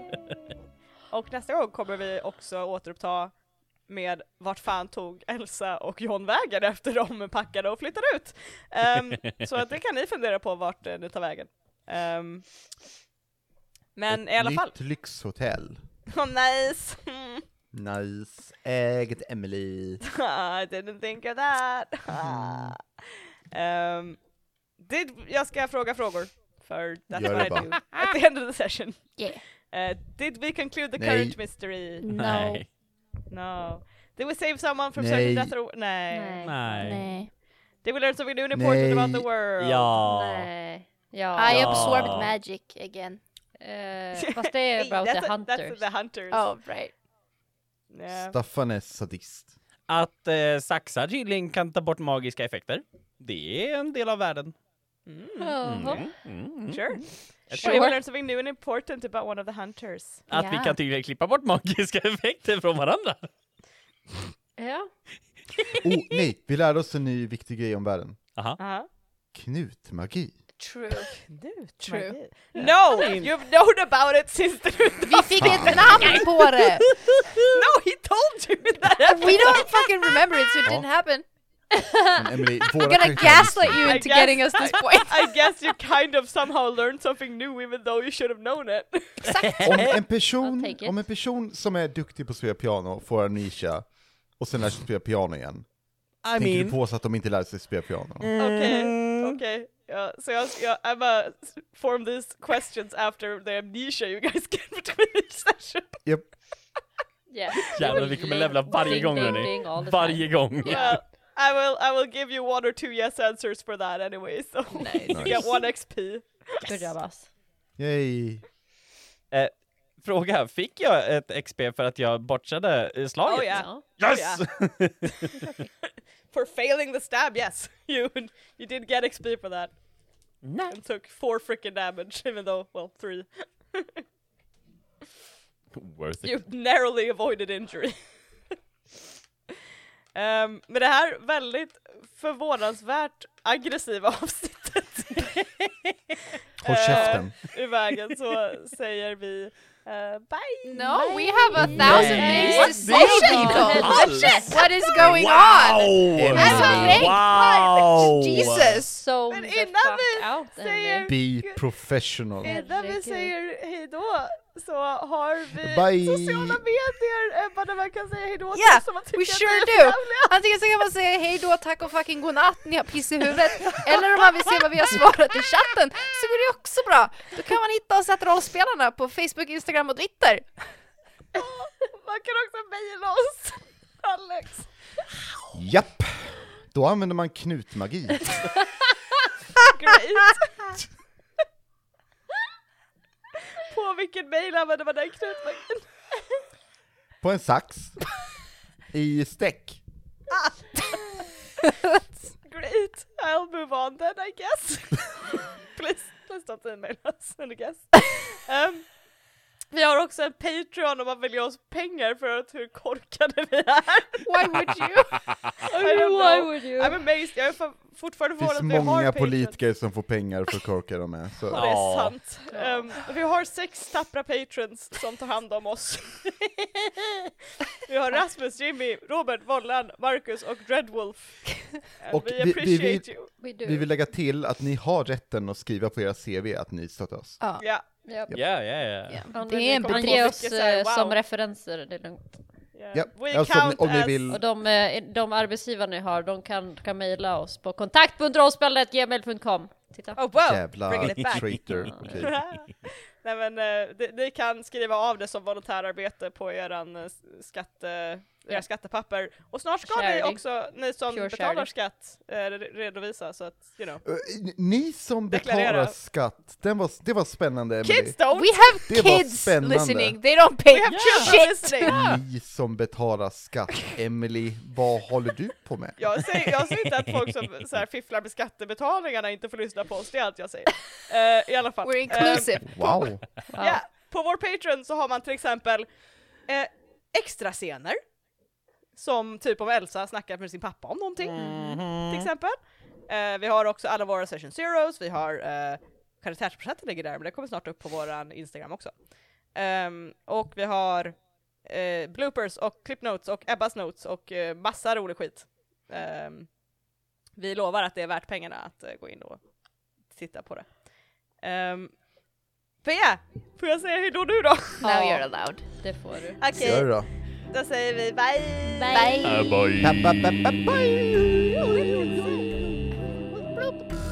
Och nästa gång kommer vi också återuppta med vart fan tog Elsa och John vägen efter de packade och flyttade ut? Ehm, så att det kan ni fundera på vart eh, ni tar vägen. Ehm, men Ett i alla nytt fall, lyxhotell. oh, nice! Mm. Nice. Ägt Emily. I didn't think of that! Ehm, det, jag ska fråga frågor, för that's Gör det what I bara. do at the end of the session. Yeah. Eh, did we conclude the Nej. current mystery? No. No. Did we save someone from Nej. certain death or... Nej. Nej. Nej. Nej. Did we learn something new and important about the Nej. world? Ja. Nej. Ja. I Ja. absorbed magic again. Eh, fast det är about that's the a- That's hunters. the hunters. Oh right. Yeah. Staffan är sadist. Att eh, saxar tydligen kan ta bort magiska effekter. Det är en del av världen. Mm. Mm, mm, mm. Sure. tror- Did we learn something new and important about one of the hunters? Att vi Ja. kan tydligen klippa bort magiska effekter från varandra. Ja. Oh, nej, vi lärde oss en ny viktig grej om världen. Uh-huh. Knutmagi. True. True. No! You've known about it since the... Vi fick ett namn på det! no, he told you that! We don't fucking remember it so it Ja. didn't happen. Men Emily, våra I'm gonna karaktärer- gaslight you I into guess- getting us this point. I guess you kind of somehow learned something new even though you should have known it. Om en, I'll person, take it. om en person som är duktig på att spela piano får amnesia och sen lär sig spela piano igen, I tänker mean, du påstå att de inte lärde sig spela piano? Okej, okej. Ja, så jag, jag I'm uh, form these questions after the amnesia you guys get between each session. Japp. Yeah. jävlar vi kommer levla varje Ding, gång ding, hörni. ding, all the time. Varje gång. Well, I will I will give you one or two yes answers for that anyway, so you get one XP. Good job us. Yay. Eh, Fråga, fick jag ett XP för att jag botchade eh, slaget? Oh yeah. Ja. Yes! yeah. For failing the stab, yes. You you did get XP for that. Nej. And took four freaking damage, even though well three. Worth it. You narrowly avoided injury. Ehm, men det här väldigt förvånansvärt aggressiva avsnittet Håll Eh, käften. i vägen så säger vi eh, bye! No, we have a thousand Nej. days to What? solve Det är inte alls. people. What is going on? Alltså, nej, wow! Jesus! So Men the innan vi fuck out säger- hörni. Be professional. Innan Eh, vi Herregud. säger hejdå så har vi Bye. sociala medier Ebba där man kan säga hejdå till Yeah, som man tycker We att sure vi är do! förjävliga. Antingen så kan man säga hej då, tack och fucking godnatt, ni har piss i huvudet. Eller om man vill se vad vi har svarat i chatten så går det också bra. Då kan man hitta oss att rollspelarna på Facebook, Instagram och Twitter. Man kan också mejla oss! Alex! Japp! Då använder man knutmagi. Great! På vilken mejl använder man den knutmagen? På en sax. I stäck. Great! I'll move on then I guess. please, please don't email us I guess. Ehm, vi har också en Patreon om man vill ge oss pengar för att hur korkade vi är. Why would you? I don't Why know. would I'm you? amazed, jag är fa- fortfarande Det finns förvånad att vi har många Patreon. politiker som får pengar för att korka dem med. Så. Ja, det är Ja. sant. Ehm, vi har sex tappra patrons som tar hand om oss. vi har Rasmus, Jimmy, Robert, Vollan, Marcus och Dreadwolf. And Och we vi- vi- appreciate vi- you. We do. Vi vill lägga till att ni har rätten att skriva på era CV att ni stöttar oss. Ja, Yep. Yeah, yeah, yeah. Det är en Man bedrift. ger oss mycket så här, eh, som wow. referenser, det är lugnt. ja. Ja, We alltså om ni, count om ni as- Och vill... de, eh, de arbetsgivare ni har, de kan, kan mejla oss på kontakt.rollspelet.gmail.com Titta. Oh wow! Jävla Bringing it back. traitor. Okej. Nej men eh, de- ni kan skriva av det som volontärarbete på eran eh, skatte, era Ja. skattepapper. Och snart ska Charity. ni också, ni som Pure betalar charity. skatt, eh, re- redovisa så att, you know. Eh, Ni som betalar Deklarera. skatt, den var, det var spännande Emily. Kids don't! We have Det var kids spännande. listening, they don't pay shit! Ni som betalar skatt, Emily, vad håller du på med? Jag säger, jag säger inte att folk som så här, fifflar med skattebetalningarna inte får lyssna på oss, det är allt jag säger. Eh, I alla fall. We're Eh, inclusive. Wow! Ja, på vår Patreon så har man till exempel eh, extra scener som typ om Elsa snackar med sin pappa om någonting, till exempel. Eh, vi har också alla våra session zeros, vi har eh, karaktärsprocenten ligger där, men det kommer snart upp på våran Instagram också. Ehm, och vi har eh, bloopers och clip notes och Ebbas notes och eh, massa rolig skit. Ehm, vi lovar att det är värt pengarna att eh, gå in och titta på det. Um, Fea, får jag säga hej då nu då? Now you're allowed. Det får du. Gör det då. då säger vi bye! Bye! Ba, ba, ba, ba, bye. bye.